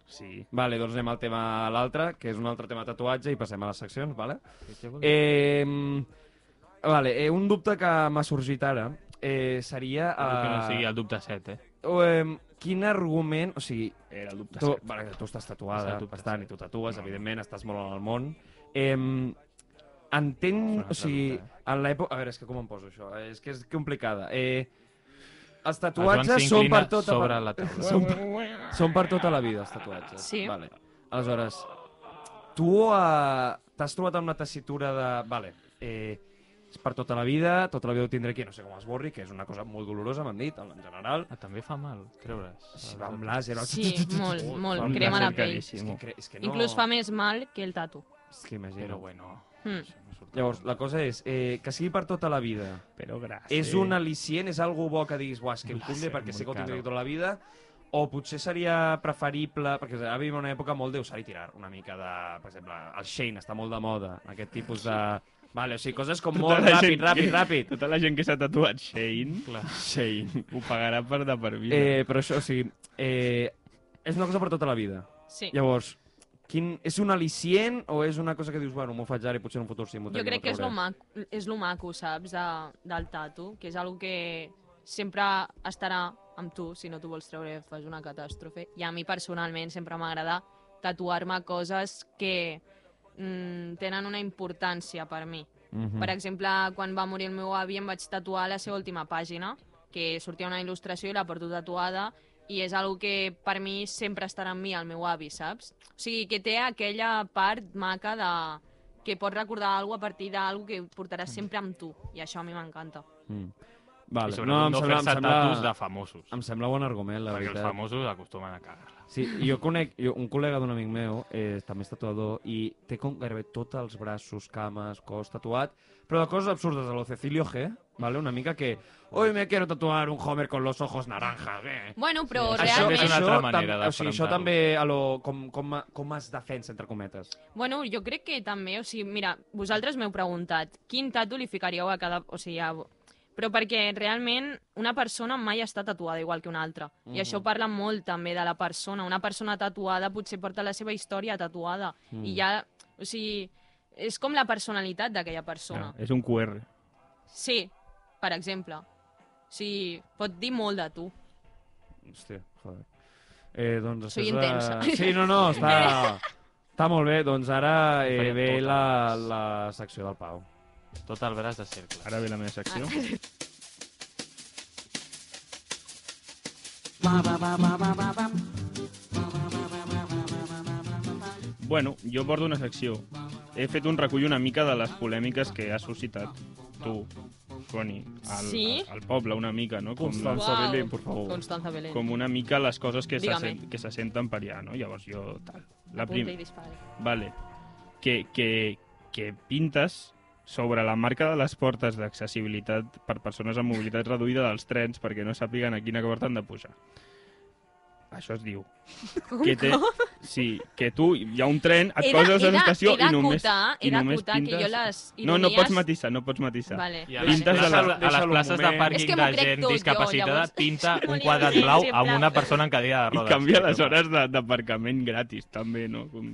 E: Sí.
C: Vale, doncs anem al tema a l'altre, que és un altre tema de tatuatge, i passem a les seccions, vale? Eh, vale, eh, un dubte que m'ha sorgit ara eh, seria...
D: Que no
C: eh,
D: sigui el dubte 7, eh?
C: o, eh, quin argument... O sigui,
E: Era el dubte.
C: tu, vale, tu estàs
D: És
C: tatuada
D: el dubte,
C: bastant
D: sí.
C: i tu tatues,
D: No.
C: evidentment, estàs molt en el món. Eh, entenc...
D: altre
C: O sigui,
D: dubte, eh?
C: en l'època... A veure, és que com em poso això? Eh, És que és complicada. Eh, els
D: El Joan
C: tatuatges són
D: s'inclina
C: per tota...
D: Sobre la taula.
C: Són per, són per tota la vida, els tatuatges.
F: Sí.
C: Vale. Aleshores, tu eh, t'has trobat amb una tessitura de... Vale, eh, és per tota la vida, tota la vida ho tindré aquí, no sé com es borri, que és una cosa molt dolorosa, m'han dit, en general.
D: Ah, també fa mal, creure's.
C: Si va amb làser... el-
F: Sí, molt,
C: Ui,
F: molt,
C: fa amb
F: crema la
C: làser
F: pell.
C: caríssim. És que, cre- és que no...
F: Inclús fa més mal que el tatu.
C: És que imagino.
D: Però bueno...
F: Mm.
D: això no surt.
C: Llavors, la cosa és, eh, que sigui per tota la vida,
E: Però gràcies.
C: és un al·licient, és algo bo que diguis, buah, és que em
D: Va
C: cunde
D: ser
C: perquè
D: molt
C: sé que ho
D: caro."
C: tindré tota la vida, o potser seria preferible, perquè ara vivim una època molt d'usar i tirar, una mica de, per exemple, el Shane està molt de moda, aquest tipus de... Vale, o sigui, coses com molt
E: tota la
C: ràpid,
E: gent
C: ràpid,
E: que-
C: ràpid.
E: Tota la gent que s'ha tatuat Shane,
D: Clar.
E: Shane, ho pagarà per de per vida.
C: Eh, però això, o sigui, eh, és una cosa per tota la vida.
F: Sí.
C: Llavors, quin, és un al·licient o és una cosa que dius, bueno, m'ho faig ara i potser en un futur sí m'ho
F: Jo crec que és lo
C: trauré"?
F: maco, és lo maco saps, de, del tatu, que és algo que sempre estarà amb tu, si no t'ho vols treure fas una catàstrofe. I a mi personalment sempre m'agrada tatuar-me coses que mm, tenen una importància per mi.
C: Mhm.
D: Mm.
F: Per exemple, quan va morir el meu avi em vaig tatuar la seva última pàgina, que sortia una il·lustració i la porto tatuada, i és algo que per mi sempre estarà amb mi, el meu avi, saps? O sigui, que té aquella part maca de que pots recordar alguna a partir d'algú que portaràs
D: Mm.
F: sempre amb tu, i això a mi m'encanta.
C: Mm.
D: I
C: Vale.
D: sobretot
C: No,
D: no,
C: em sembla, em
D: fer-se tatus de
C: sembla,
D: famosos.
C: em sembla bon argument, la
D: Perquè els
C: veritat.
D: famosos acostumen a cagar-la.
C: Sí, jo conec jo, un col·lega d'un amic meu, eh, també és tatuador, i té com gairebé tots els braços, cames, cos tatuat, però de coses absurdes, a lo Cecilio G, Vale? Una mica que... Hoy me quiero tatuar un Homer con los ojos naranjas. Eh.
F: Bueno, però
D: Sí,
C: Això,
D: també és
F: realment...
D: una altra
C: això, tam,
D: manera
C: o sigui, això
D: d'afrontar-ho.
C: també a lo, com, com, com es defensa, entre cometes.
F: Bueno, jo crec que també, o sigui, mira, vosaltres m'heu preguntat quin tatu li ficaríeu a cada... O sigui, a... Però perquè realment una persona mai està tatuada igual que una altra.
E: Mhm.
F: I això parla molt també de la persona. Una persona tatuada potser porta la seva història tatuada. I
C: Mm.
E: Mhm.
F: ja, o sigui, és com la personalitat d'aquella persona.
E: És un QR.
F: Sí, per exemple. O sigui, pot dir molt de tu.
C: Hòstia, joder. Eh, doncs
F: Soy
C: després de-
F: intensa.
C: Sí, no, no, està, està molt bé. Doncs ara eh,
D: Faria
C: ve
D: tot,
C: la,
D: abans.
C: la secció del Pau.
D: Tot el braç de cercle.
E: Ara ve la meva
F: Ah,
E: secció. Bueno, jo porto una secció. He fet un recull una mica de les polèmiques que ha suscitat tu, Toni, al,
F: Sí?
E: al, al poble, una mica, no? Com, la-
F: Constanza Uau. Belén,
C: por favor.
F: Constanza Belén.
E: Oh. com una mica les coses que se
F: Dígame.
E: sent- que se senten per allà, no? Llavors jo, tal. La,
F: Apunta
E: prim,
F: i dispara.
E: Vale. Que, que, que pintes sobre la marca de les portes d'accessibilitat per persones amb mobilitat reduïda dels trens perquè no sàpiguen a quina porta han de pujar. Això es diu. Que té, sí, que tu, hi ha un tren, et poses a l'estació
F: he de
E: i només,
F: acotar- he
E: i només
F: d'acotar
E: pintes...
F: que jo les
E: No, no
F: ironies-
E: pots matisar, no pots matisar.
F: Vale.
D: I a
E: Vale.
D: les,
E: Pintes
D: places,
E: de
D: a
E: la-
D: les
G: deixa-lo un
D: places de
G: moment.
F: És
D: pàrquing
F: que m'ho
D: de
F: crec
D: gent
F: tot, jo,
D: discapacitada
F: llavors.
D: pinta
F: No
D: un
F: li
D: quadrat
F: diré,
D: blau
F: en
D: amb
F: plan.
D: una persona en cadira de
E: I
D: rodes.
E: canvia eh? les
D: Sí,
E: hores de- d'aparcament gratis, també, no? Com...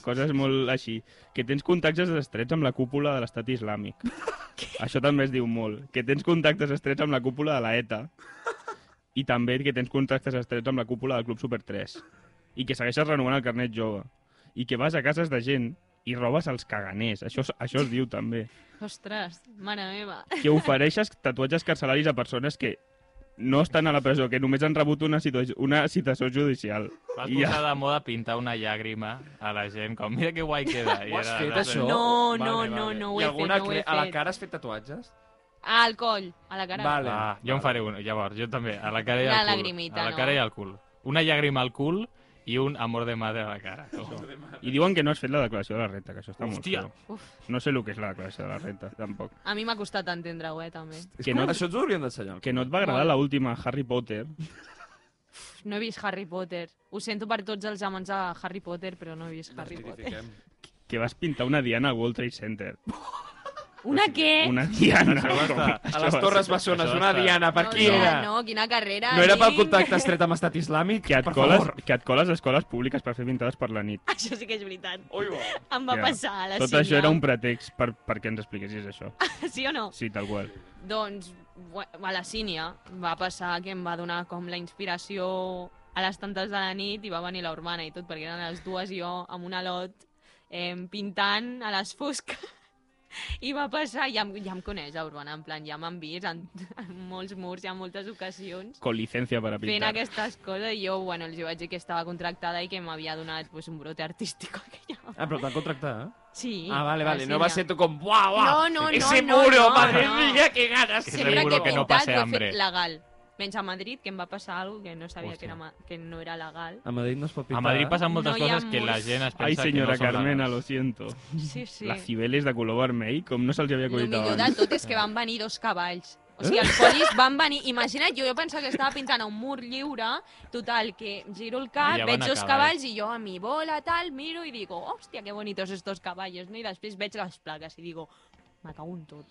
E: Coses molt així. Que tens contactes estrets amb la cúpula de l'estat islàmic. Això també es diu molt. Que tens contactes estrets amb la cúpula de la ETA. I també que tens contactes estrets amb la cúpula del Club Super 3. I que segueixes renovant el carnet jove. I que vas a cases de gent i robes els caganers. Això, es- això es diu també.
F: Ostres, mare meva.
E: Que ofereixes tatuatges carcelaris a persones que no estan a la presó, que només han rebut una, situa- una citació judicial.
D: Va
E: I ja-
D: posar de moda pintar una llàgrima a la gent, com mira que guai queda. I
C: Ho has
D: era-
C: fet,
D: era-
C: això?
F: No, no, no, no ho he
C: I
F: fet,
C: alguna
F: no ho he
C: cre- a la
F: fet.
C: cara has fet tatuatges?
F: Al coll, a la cara.
C: Vale.
D: Ah, jo en faré un, llavors, jo també, a la cara i
F: Una
D: al cul.
F: lagrimita,
D: a la
F: no?
D: cara i al cul. Una llàgrima al cul i un amor de madre a la cara.
E: I diuen que no has fet la declaració de la renta, que això està
D: Hòstia.
E: molt feo.
F: Uf.
E: No sé el que és la declaració de la renta, tampoc.
F: A mi m'ha costat entendre-ho, eh, també.
C: És
E: Que
C: com-
E: no-
C: Això ens ho hauríem d'ensenyar.
E: Que no et va agradar la última, Harry Potter.
F: Uf, No he vist Harry Potter. Ho sento per tots els amants de Harry Potter, però no he vist Harry Potter.
E: Que vas pintar una diana al World Trade Center.
F: Una què?
E: Una diana. com-
C: A
E: això
C: les
E: va
C: Torres
E: ser-
C: Bessones,
E: això
C: una
E: està-
C: diana, per
F: no,
C: qui
F: tía,
C: era?
F: No, quina carrera.
C: No era pel
F: Link.
C: contacte estret amb estat islàmic?
E: Que et,
C: per
E: coles,
C: favor.
E: que et coles a escoles públiques per fer pintades per la nit.
F: Això sí que és veritat.
G: Ui, bo.
F: Em va
E: Ja.
F: passar a la
E: Tot
F: Sínia.
E: això era un pretext per, perquè ens expliquessis això.
F: Sí o no?
E: Sí, tal qual.
F: Doncs bue- a la Sínia va passar que em va donar com la inspiració a les tantes de la nit i va venir la Urbana i tot, perquè eren les dues i jo amb un alot eh, pintant a les fosques. I va passar, ja, em- ja em coneix la Urbana, en plan, ja m'han vist en, en molts murs i en moltes ocasions
E: Con licencia para
F: fent
E: pintar.
F: aquestes coses i jo, bueno, els vaig dir que estava contractada i que m'havia donat pues, un brote artístico aquella.
C: Ah, però t'han contractat, eh?
F: Sí.
C: Ah, vale,
F: la
C: vale. No va
F: Sínia.
C: ser tu com... Buah, buah.
F: No, no, no,
C: Ese
F: no,
C: muro,
F: no,
C: madre
F: no.
C: mía, que ganas.
D: Que
F: Sempre que
D: Seguro
F: he
D: que no
F: pintat
D: pase
F: ho he
D: hambre.
F: fet legal. Menys a Madrid, que em va passar algo que no sabia
D: Hòstia.
F: que, era, ma- que no era legal.
C: A Madrid no es pot eh?
D: A Madrid passen moltes
F: No hi ha
D: coses que la
F: murs.
D: gent es pensa
E: Ai, senyora
D: que no són
E: Carmena, lo
D: legals.
E: siento.
F: Sí, sí.
E: La Cibeles de color vermell, com no se'ls havia
F: El
E: acudit
F: millor de
E: abans.
F: tot és que van venir dos cavalls. O sigui, els polis van venir... Imagina't, jo, jo pensava que estava pintant a un mur lliure, total, que giro el cap,
D: I ja van
F: veig
D: a
F: dos
D: cavall.
F: cavalls i jo a mi bola, tal, miro i digo, hòstia, que bonitos estos caballos, no? I després veig les plaques i digo, me cago en tot.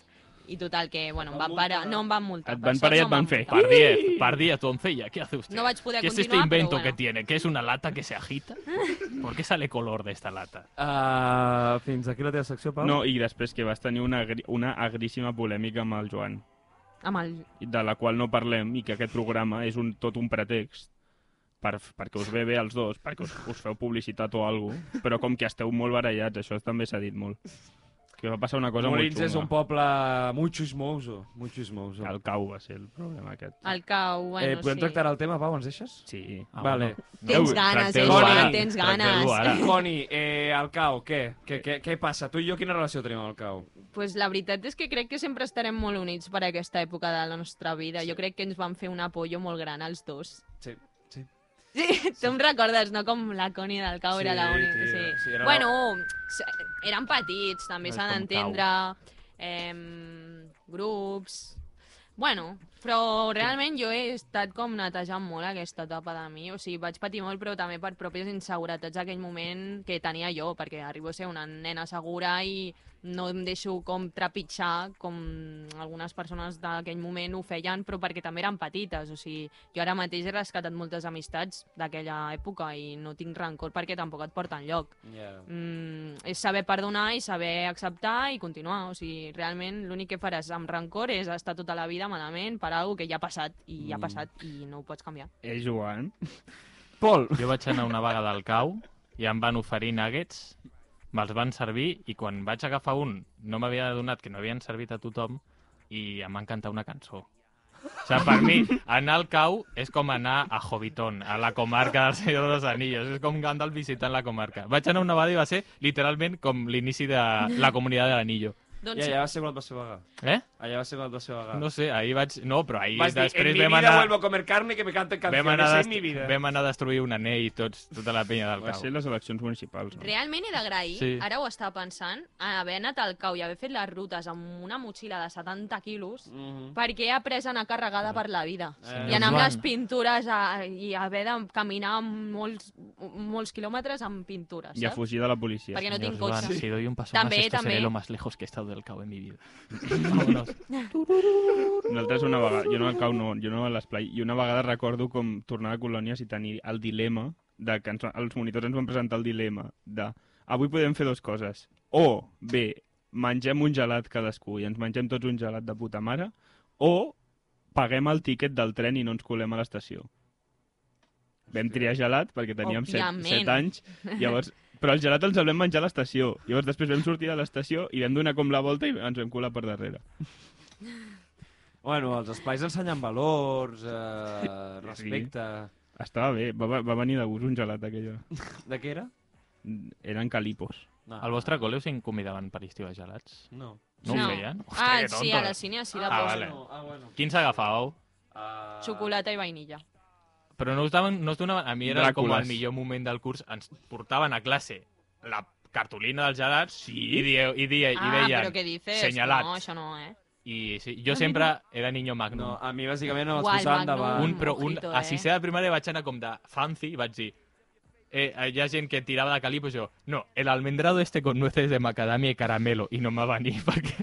F: I total, que, bueno, em van parar, no em van multar.
E: Et van
F: per
E: parar i
F: sort
E: et
F: no
E: van
F: em
E: fer.
F: multar.
D: Per 10, per 10, doncella, ¿qué hace usted?
F: No vaig poder
D: ¿Qué es este
F: continuar, però
D: invento
F: bueno.
D: que tiene? ¿Qué es una lata que se agita? ¿Por qué sale color de esta lata?
C: Uh, fins aquí la teva secció, Pau.
E: No, i després que vas tenir una, agri una agríssima polèmica amb el Joan.
F: Amb el...
E: de la qual no parlem i que aquest programa és un, tot un pretext per, perquè us ve bé els dos, perquè us, us feu publicitat o alguna però com que esteu molt barallats, això també s'ha dit molt. Que va passar una cosa
C: Molins
E: molt
C: és un
E: xunga.
C: poble molt xusmoso. Molt xusmoso.
E: El cau va ser el problema aquest.
F: El cau,
C: eh,
F: bueno,
C: podem
F: sí.
C: tractar el tema, Pau? Ens deixes?
E: Sí.
C: Ah, vale.
F: Tens
E: Déu,
F: ganes, eh,
D: tracteu-ho
C: Joan,
D: ara,
F: tens
D: tracteu-ho
F: ganes.
D: ara.
C: Coni, eh, el cau, què? Què, què? què passa? Tu i jo quina relació tenim amb el cau?
F: pues la veritat és que crec que sempre estarem molt units per aquesta època de la nostra vida. Jo crec que ens van fer un apoyo molt gran als dos.
C: Sí, sí.
F: Sí, tu em recordes, no? Com la Coni del Cau era
C: Sí,
F: la única.
C: tio,
F: Sí.
C: sí, era-
F: Bueno, s- eren petits, també
D: No és
F: s'ha
D: com
F: d'entendre. Eh, grups... Bueno, però realment jo he estat com netejant molt aquesta etapa de mi. O sigui, vaig patir molt, però també per pròpies inseguretats d'aquell moment que tenia jo, perquè arribo a ser una nena segura i no em deixo com trepitjar com algunes persones d'aquell moment ho feien, però perquè també eren petites. O sigui, jo ara mateix he rescatat moltes amistats d'aquella època i no tinc rancor perquè tampoc et porta enlloc
C: Yeah.
D: Doncs
F: mm, és saber perdonar i saber acceptar i continuar. O sigui, realment l'únic que faràs amb rancor és estar tota la vida malament per alguna que ja ha passat i ja ha
C: Mm.
F: passat i no ho pots canviar.
E: Eh, Joan?
G: Pol,
D: Jo vaig anar una vegada al cau i em van oferir nuggets, me'ls van servir i quan vaig agafar un no m'havia donat que no havien servit a tothom i em van cantar una cançó. O sigui, per mi, anar al cau és com anar a Hobbiton, a la comarca del Senyor dels Anillos. És com Gandalf visitant la comarca. Vaig anar una vegada i va ser literalment com l'inici de la comunitat de l'anillo.
F: Doncs
C: I allà va ser quan et va ser vagar.
D: Eh?
C: Allà va ser quan et va ser vagar.
D: No sé, ahir vaig... No, però ahir
G: vas dir, en
D: després
G: mi
D: vam
G: vida
D: anar...
G: vuelvo a comer carne que me canten
D: Vam
G: canciones
D: anar,
G: en
D: dest-
G: mi vida.
D: vam anar a destruir un anell i tots, tota la penya del
E: Va ser
D: cau.
E: les eleccions municipals. No?
F: Realment he d'agrair, sí.
D: Sí.
F: ara ho estava pensant, a haver anat al cau i haver fet les rutes amb una motxilla de 70 quilos
D: Mm.
C: Mhm.
F: perquè he après a anar
D: Ah.
F: carregada per la vida.
C: Eh,
F: I anar amb
D: Joan.
F: les pintures a, i haver de caminar molts, molts quilòmetres amb pintures,
E: I a
F: saps?
E: fugir de la policia.
F: Perquè no tinc
D: Dios, Van,
F: cotxe.
D: si doy un paso
F: También,
D: más, esto seré
F: también.
D: lo más lejos que he estado del cabo en mi vida. Vámonos.
E: Nosaltres una vegada, jo no al cau no, jo no a l'esplai, i una vegada recordo com tornar a colònies i tenir el dilema de que ens, els monitors ens van presentar el dilema de avui podem fer dues coses. O bé, mengem un gelat cadascú i ens mengem tots un gelat de puta mare, o paguem el tiquet del tren i no ens colem a l'estació. Vam triar gelat perquè teníem 7,
F: Òbviament.
E: 7 anys, llavors, però el gelat ens el vam menjar a l'estació. Llavors després vam sortir de l'estació i vam donar com la volta i ens vam colar per darrere.
C: Bueno, els esplais ensenyen valors, eh,
E: Sí.
C: respecte...
E: Estava bé, va, va venir de gust un gelat aquella.
C: De què era?
E: Eren calipos.
C: No.
D: Al vostre col·le us incomidaven per estiu a gelats?
C: No.
D: No,
F: No.
D: ho feien?
F: ah,
D: que
F: sí,
D: tonto.
F: a la cine sí de
D: Ah,
F: ah,
D: vale.
C: No, ah, bueno.
D: Quins agafàveu?
C: Ah,
F: xocolata i vainilla.
D: Però no us, daven, no us donaven... A mi era Dràcules. com
E: Dràcules.
D: el millor moment del curs. Ens portaven a classe la cartolina dels gelats i, dieu, i, die, i
F: ah,
D: deien...
F: però què dices?
D: Senyalat.
F: No, això no, eh?
D: I sí, jo sempre era niño magnum.
C: No, a mi bàsicament em
F: Guau,
C: posaven
F: Magnum.
C: davant.
D: un, però un,
F: Ojito,
D: a
F: eh?
D: sisè de primària vaig anar com de fancy i vaig dir eh, hi ha gent que tirava de calipos jo, no, el almendrado este con nueces de macadamia i caramelo, i no me va venir perquè,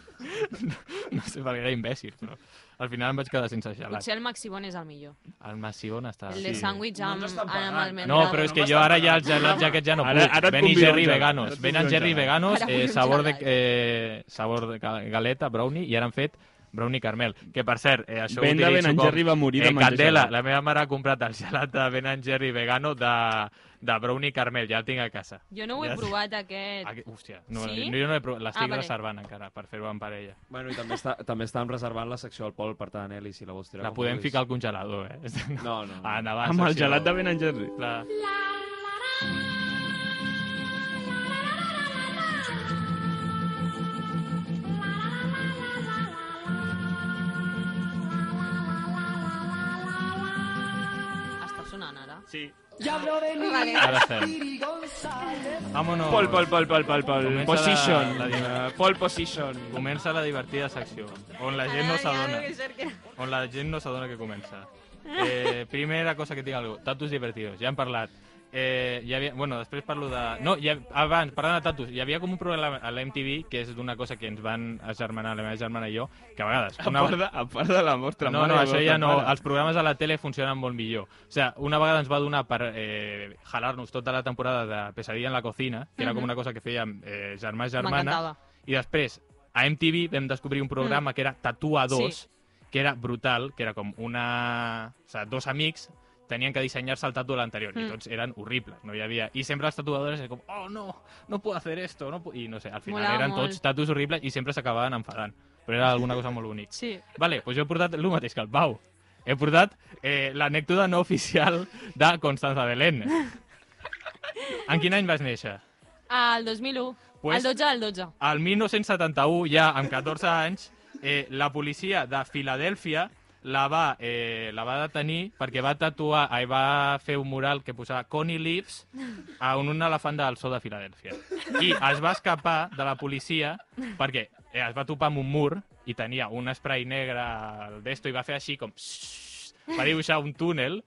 D: no, no sé, perquè era imbècil, però al final em vaig quedar sense gelat.
F: Potser el Maxibon és el millor.
D: El Massivon està...
F: El de sàndwich amb,
C: No ens estan
F: amb, amb
C: pagant.
F: almendra.
D: Ah, No, però és que jo ara ja els gelats aquests ja no
E: Ara-
D: puc.
E: ara et
D: Ben i
E: convido a un
D: Jerry
E: gelat. Ara
D: veganos.
E: et
D: Ben
E: convido a
D: and
E: un
D: Jerry
E: gelat.
D: veganos,
F: Ara vull
D: eh,
F: un
D: sabor, de,
F: gelat.
D: eh, sabor de ga- galeta, brownie, i ara han fet brownie caramel. Que, per cert, eh, això
E: Ben de
D: ho utilitzo
E: Ben and
D: com...
E: Jerry va morir de
D: eh,
E: menjar
D: Candela,
E: gelat.
D: la meva mare ha comprat el gelat de Ben and Jerry vegano de, de brownie caramel. Ja el tinc a casa.
F: Jo no ho he
D: Ja-
F: provat, aquest.
D: Aqu- Hòstia, no,
F: Eh, Sí?
D: no, jo no l'he provat. L'estic
F: Ah, vale.
D: reservant encara per fer-ho en parella.
C: Bueno, i també, està, també estàvem reservant la secció al Pol, per tant, Eli, si la vols tirar...
D: La
C: com
D: podem
C: vulguis.
D: ficar al congelador, eh?
C: No, no, no.
D: Ah, endavant,
E: Amb el
D: secció.
E: gelat de Ben and Jerry.
D: Clar.
F: Està sonant ara.
E: Sí.
F: Vale.
D: Ara estem. Vámonos.
G: Pol, pol, pol, pol, pol, pol.
D: Comença
G: Position.
D: la- la-
G: Eh, Pol position.
D: Comença la divertida secció, on la gent no s'adona. On la gent no s'adona que comença. Eh, primera cosa que tinc algo, tatus divertidos, ja hem parlat. Eh, hi havia, bueno, després parlo de... No, ja, abans, parlant de tatus, hi havia com un programa a la MTV que és d'una cosa que ens van agermanar la meva germana i jo, que a vegades...
E: A part de, a part de la vostra
D: No,
E: mare.
D: no,
E: i la
D: això
E: vostra
D: ja no.
E: mare.
D: Els programes a la tele funcionen molt millor. O sigui, una vegada ens va donar per eh, jalar-nos tota la temporada de Pesadilla en la cocina, que era com una cosa que fèiem eh, germà i germana.
F: M'encantava.
D: I després, a MTV vam descobrir un programa que era Tatuadors,
F: Mm. Sí.
D: que era brutal, que era com una... O sigui, dos amics tenien que dissenyar-se el tatu de l'anterior i
F: Mm.
D: tots eren horribles, no hi havia... I sempre els tatuadores eren com, oh no, no puc hacer esto, no puc... I no sé, al final
F: Molava
D: eren
F: molt.
D: tots tatus horribles i sempre s'acabaven enfadant. Però era alguna cosa molt bonica.
F: Sí.
D: Vale, doncs jo he portat el mateix que el Pau. He portat eh, l'anècdota no oficial de Constanza Belén. En quin any vas néixer?
F: El 2001.
D: Pues-
F: El 12 del 12.
D: Al 1971, ja amb 14 anys, eh, la policia de Filadèlfia la va, eh, la va detenir perquè va tatuar, ai, va fer un mural que posava Connie Leaves a un, un elefant del zoo de Filadèlfia. I es va escapar de la policia perquè eh, es va topar amb un mur i i tenia un spray negre al d'esto i va fer així com... va dibuixar un túnel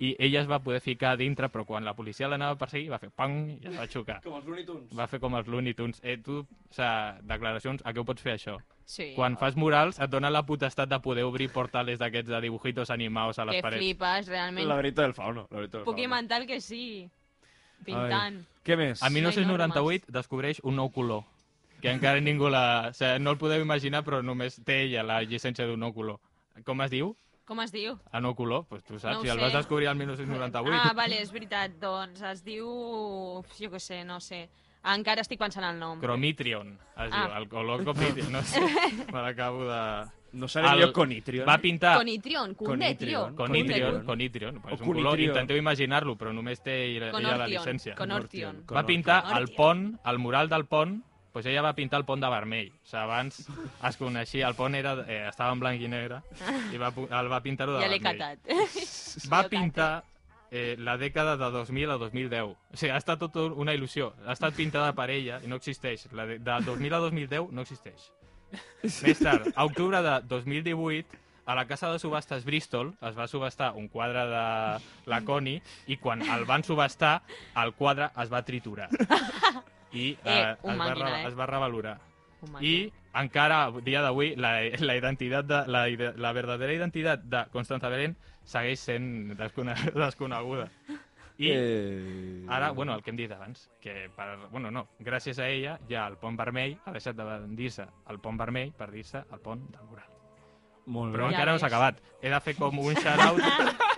D: i ella es va poder ficar a dintre, però quan la policia l'anava a perseguir va fer pang i es va xocar.
G: Com els Looney Tunes.
D: Va fer com els Looney Tunes. Eh, tu, o sea, declaracions, a què ho pots fer això?
F: Sí.
D: Quan fas murals et dona la potestat de poder obrir portales d'aquests de dibujitos animados a les
F: Que
D: parets.
F: flipes, realment.
G: Laberinto del fauno. Laberinto del
F: Puc
G: fauno.
F: inventar el que sí. Pintant.
G: Què més?
D: A
F: No hi
D: 1998
F: normes.
D: descobreix un nou color que encara ningú la... O sea, no el podeu imaginar, però només té ella la llicència d'un nou color. Com es diu?
F: Com es diu?
D: El nou color? Pues tu saps,
F: No ho
D: si el
F: sé.
D: vas descobrir al 1998.
F: Ah, vale, és veritat. Doncs es diu... Jo què sé, no sé. Encara estic pensant el nom.
D: Cromitrion, es diu,
F: Ah.
D: el color comitrion, no sé, me l'acabo de...
G: No seré
D: El-
G: el... jo Conitrion.
D: Va pintar
F: Conitrion, cunde, tio.
G: Conitrion.
D: Conitrion,
G: Conitrion.
D: Conitrion, és un
G: Conitrion.
D: color, intenteu imaginar-lo, però només té ella ella la
F: Conortion,
D: llicència.
F: Conortion.
D: Va pintar el
F: Conortion.
D: pont, el mural del pont, doncs ella va pintar el pont de vermell. O sigui, abans es coneixia, el pont era, eh, estava en blanc i negre, i va, pu- el va pintar-ho de
F: Ja l'he
D: vermell.
F: catat.
D: Va
F: Jo
D: pintar eh, la dècada de 2000 a 2010. O sigui, ha estat tot una il·lusió. Ha estat pintada per ella i no existeix. La de, de 2000 a 2010 no existeix. Més tard, a octubre de 2018, a la casa de subhastes Bristol es va subhastar un quadre de la Connie i quan el van subhastar, el quadre es va triturar. I eh,
F: Eh,
D: es,
F: un
D: va
F: màquina,
D: re-
F: eh?
D: es va revalorar.
F: Un
D: I encara, a dia d'avui, la, la identitat de, la, ide- la verdadera identitat de Constanza Belén segueix sent descone desconeguda. I
G: Eh...
D: ara, bueno, el que hem dit abans, que per, bueno, no, gràcies a ella ja el pont vermell ha deixat de dir-se el pont vermell per dir-se el pont del mural.
G: Molt
D: Però
G: bé.
F: Ja
D: encara no s'ha
F: ves.
D: acabat. He de fer com un shout-out...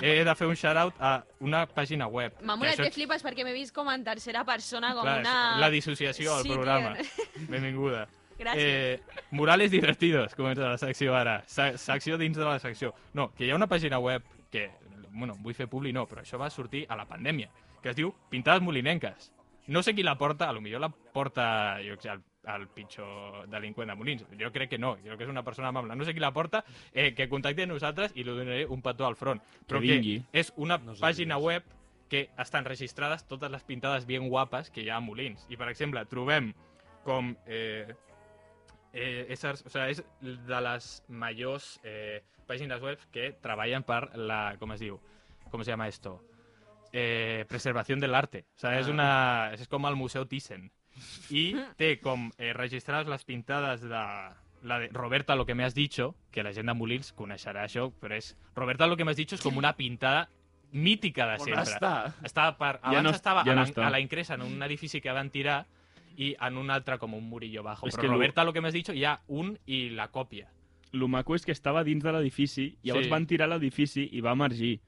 D: He de fer un shout-out a una pàgina web.
F: M'ha
D: que
F: molat
D: això-
F: que flipes perquè m'he vist com en tercera persona, com
D: clar, és
F: una...
D: La dissociació al
F: Sí,
D: programa.
F: tio.
D: Benvinguda.
F: Gràcies.
D: Eh, murales divertidos, comença la secció ara. Se secció dins de la secció. No, que hi ha una pàgina web que, bueno, vull fer publi no, però això va sortir a la pandèmia, que es diu Pintades Molinenques. No sé qui la porta, a lo millor la porta, jo què sé, el, el pitjor delinqüent de Molins. Jo crec que no, jo crec que és una persona amable. No sé qui la porta, eh, que contacti a nosaltres i li donaré un petó al front. Però que,
E: vingui.
D: és una
G: No sé
D: pàgina
G: qui és.
D: web que estan registrades totes les pintades bien guapes que hi ha a Molins. I, per exemple, trobem com... Eh, eh, éssers, o sea, és de les majors eh, pàgines web que treballen per la... Com es diu? Com se llama esto? Eh, preservació de l'arte. O sea,
E: Ah.
D: és, una, és com el Museu Thyssen. I té com eh, registrades les pintades de la de Roberta lo que me has dicho, que la gent de Molins coneixerà això, però és Roberta lo que me has dicho és com una pintada mítica de
G: On
D: sempre.
G: està?
D: Estava per...
E: Ja
D: Abans
E: no-
D: estava
E: ja
D: a, la,
E: no està.
D: a la Incresa, en un edifici que van tirar, i en un altre com un murillo bajo.
E: És
D: Però
E: que lo-
D: Roberta, lo que m'has dit, hi ha un i la còpia.
E: Lo maco és que estava dins de l'edifici, llavors
D: Sí.
E: van tirar l'edifici i va emergir.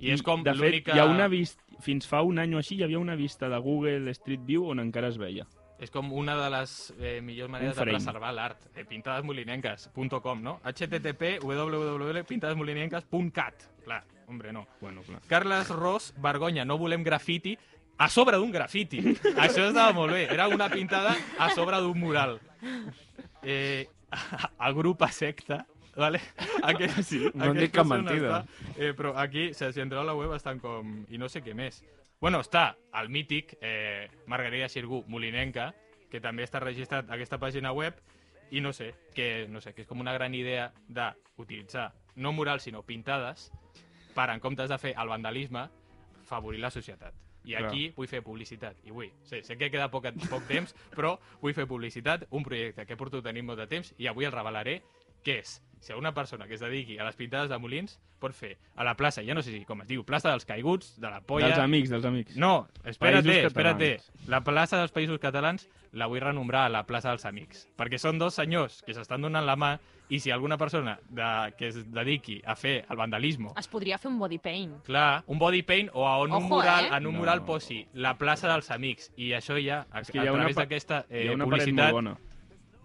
D: I és com
E: de fet,
D: l'única...
E: hi ha una vist... fins fa un any o així hi havia una vista de Google Street View on encara es veia.
D: És com una de les eh, millors maneres de
E: frame.
D: preservar l'art. Eh, pintadesmolinenques.com, no? http www.pintadesmolinenques.cat. Clar, hombre, no.
E: Bueno, clar.
D: Carles Ros, vergonya, no volem grafiti a sobre d'un grafiti. Això estava molt bé. Era una pintada a sobre d'un mural. Eh, el grup a secta, vale? Aquest, sí,
G: no han dit cap mentida.
D: eh, però aquí, o sigui, si entreu a la web, estan com... I no sé què més. Bueno, està el mític eh, Margarida Xirgú Molinenca, que també està registrat a aquesta pàgina web, i no sé, que, no sé, que és com una gran idea d'utilitzar no murals, sinó pintades, per, en comptes de fer el vandalisme, favorir la societat. I
E: Clar.
D: aquí vull fer publicitat. I vull, sé, sé que queda poc, poc temps, però vull fer publicitat, un projecte que porto tenint molt de temps i avui el revelaré, que és, si a una persona que es dediqui a les pintades de Molins pot fer a la plaça, ja no sé si com es diu, plaça dels caiguts, de la polla...
E: Dels amics, dels amics.
D: Oh, No, espérate,
E: Països
D: espérate.
E: catalans.
D: La plaça dels Països Catalans la vull renombrar a la plaça dels Amics, perquè són dos senyors que s'estan donant la mà i si alguna persona de, que es dediqui a fer el vandalisme
F: Es podria fer un body paint.
D: Clar, un body paint o a on un
F: Ah. Ojo,
D: mural,
F: eh?
D: en un
E: No.
D: mural posi la plaça dels amics. I això ja, a,
E: És
D: que
E: que hi ha
D: a
E: una
D: través
E: pa-
D: d'aquesta eh,
E: hi ha una paret
D: publicitat...
E: molt bona.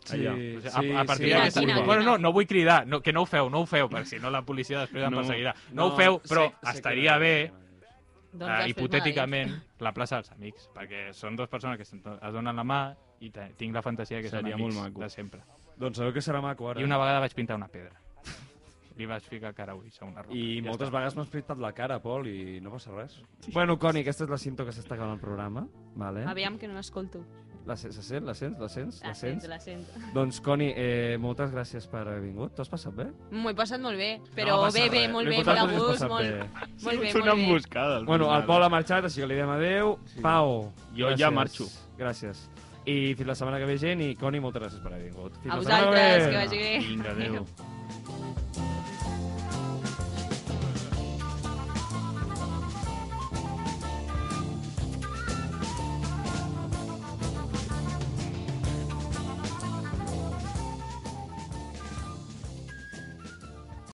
E: Allà.
D: O sigui, a, a partir
E: sí,
D: d'aquesta...
F: Quina, quina,
D: bueno, no,
F: quina.
D: no vull cridar, no, que no ho feu, no ho feu, perquè si no la policia després em
E: No.
D: perseguirà. No, ho feu, però estaria bé,
F: Doncs
D: eh,
F: després
D: hipotèticament, la plaça dels amics, perquè són dues persones que se'n- es donen la mà i te- tinc la fantasia que
E: Seria
D: són amics
E: molt maco.
D: de sempre.
G: Doncs sabeu que serà maco ara.
D: I una vegada vaig pintar una pedra. Li vaig ficar cara ulls a una roca.
G: I
D: Ja
G: moltes
D: està.
G: vegades m'has pintat la cara, Pol, i no passa res. Bueno, Coni, aquesta és la cinta que s'està acabant el programa.
F: m'ho
G: Vale?
F: dic. Aviam que no l'escolto.
C: La, se- se sent? La sents? La sents?
F: La sento, la sento.
C: Doncs, Coni, eh, moltes gràcies per haver vingut. T'ho has passat bé?
F: M'ho he passat molt bé, però
C: passa
F: bé, bé,
C: res.
F: molt bé, molt
C: L'important
F: a
C: és que t'ho has
F: gust,
C: passat
F: molt,
C: bé.
F: molt bé,
E: És una
F: molt bé.
E: emboscada. al
C: Bueno, el
E: final.
C: Pol ha marxat, així que li diem adeu. Sí. Pau,
E: Jo ja marxo.
C: Gràcies. I fins la setmana que ve, gent, i Coni, moltes gràcies per haver vingut. Fins
F: A
C: la setmana
F: vosaltres,
C: ve.
F: que vagi bé.
E: Vinga, adéu.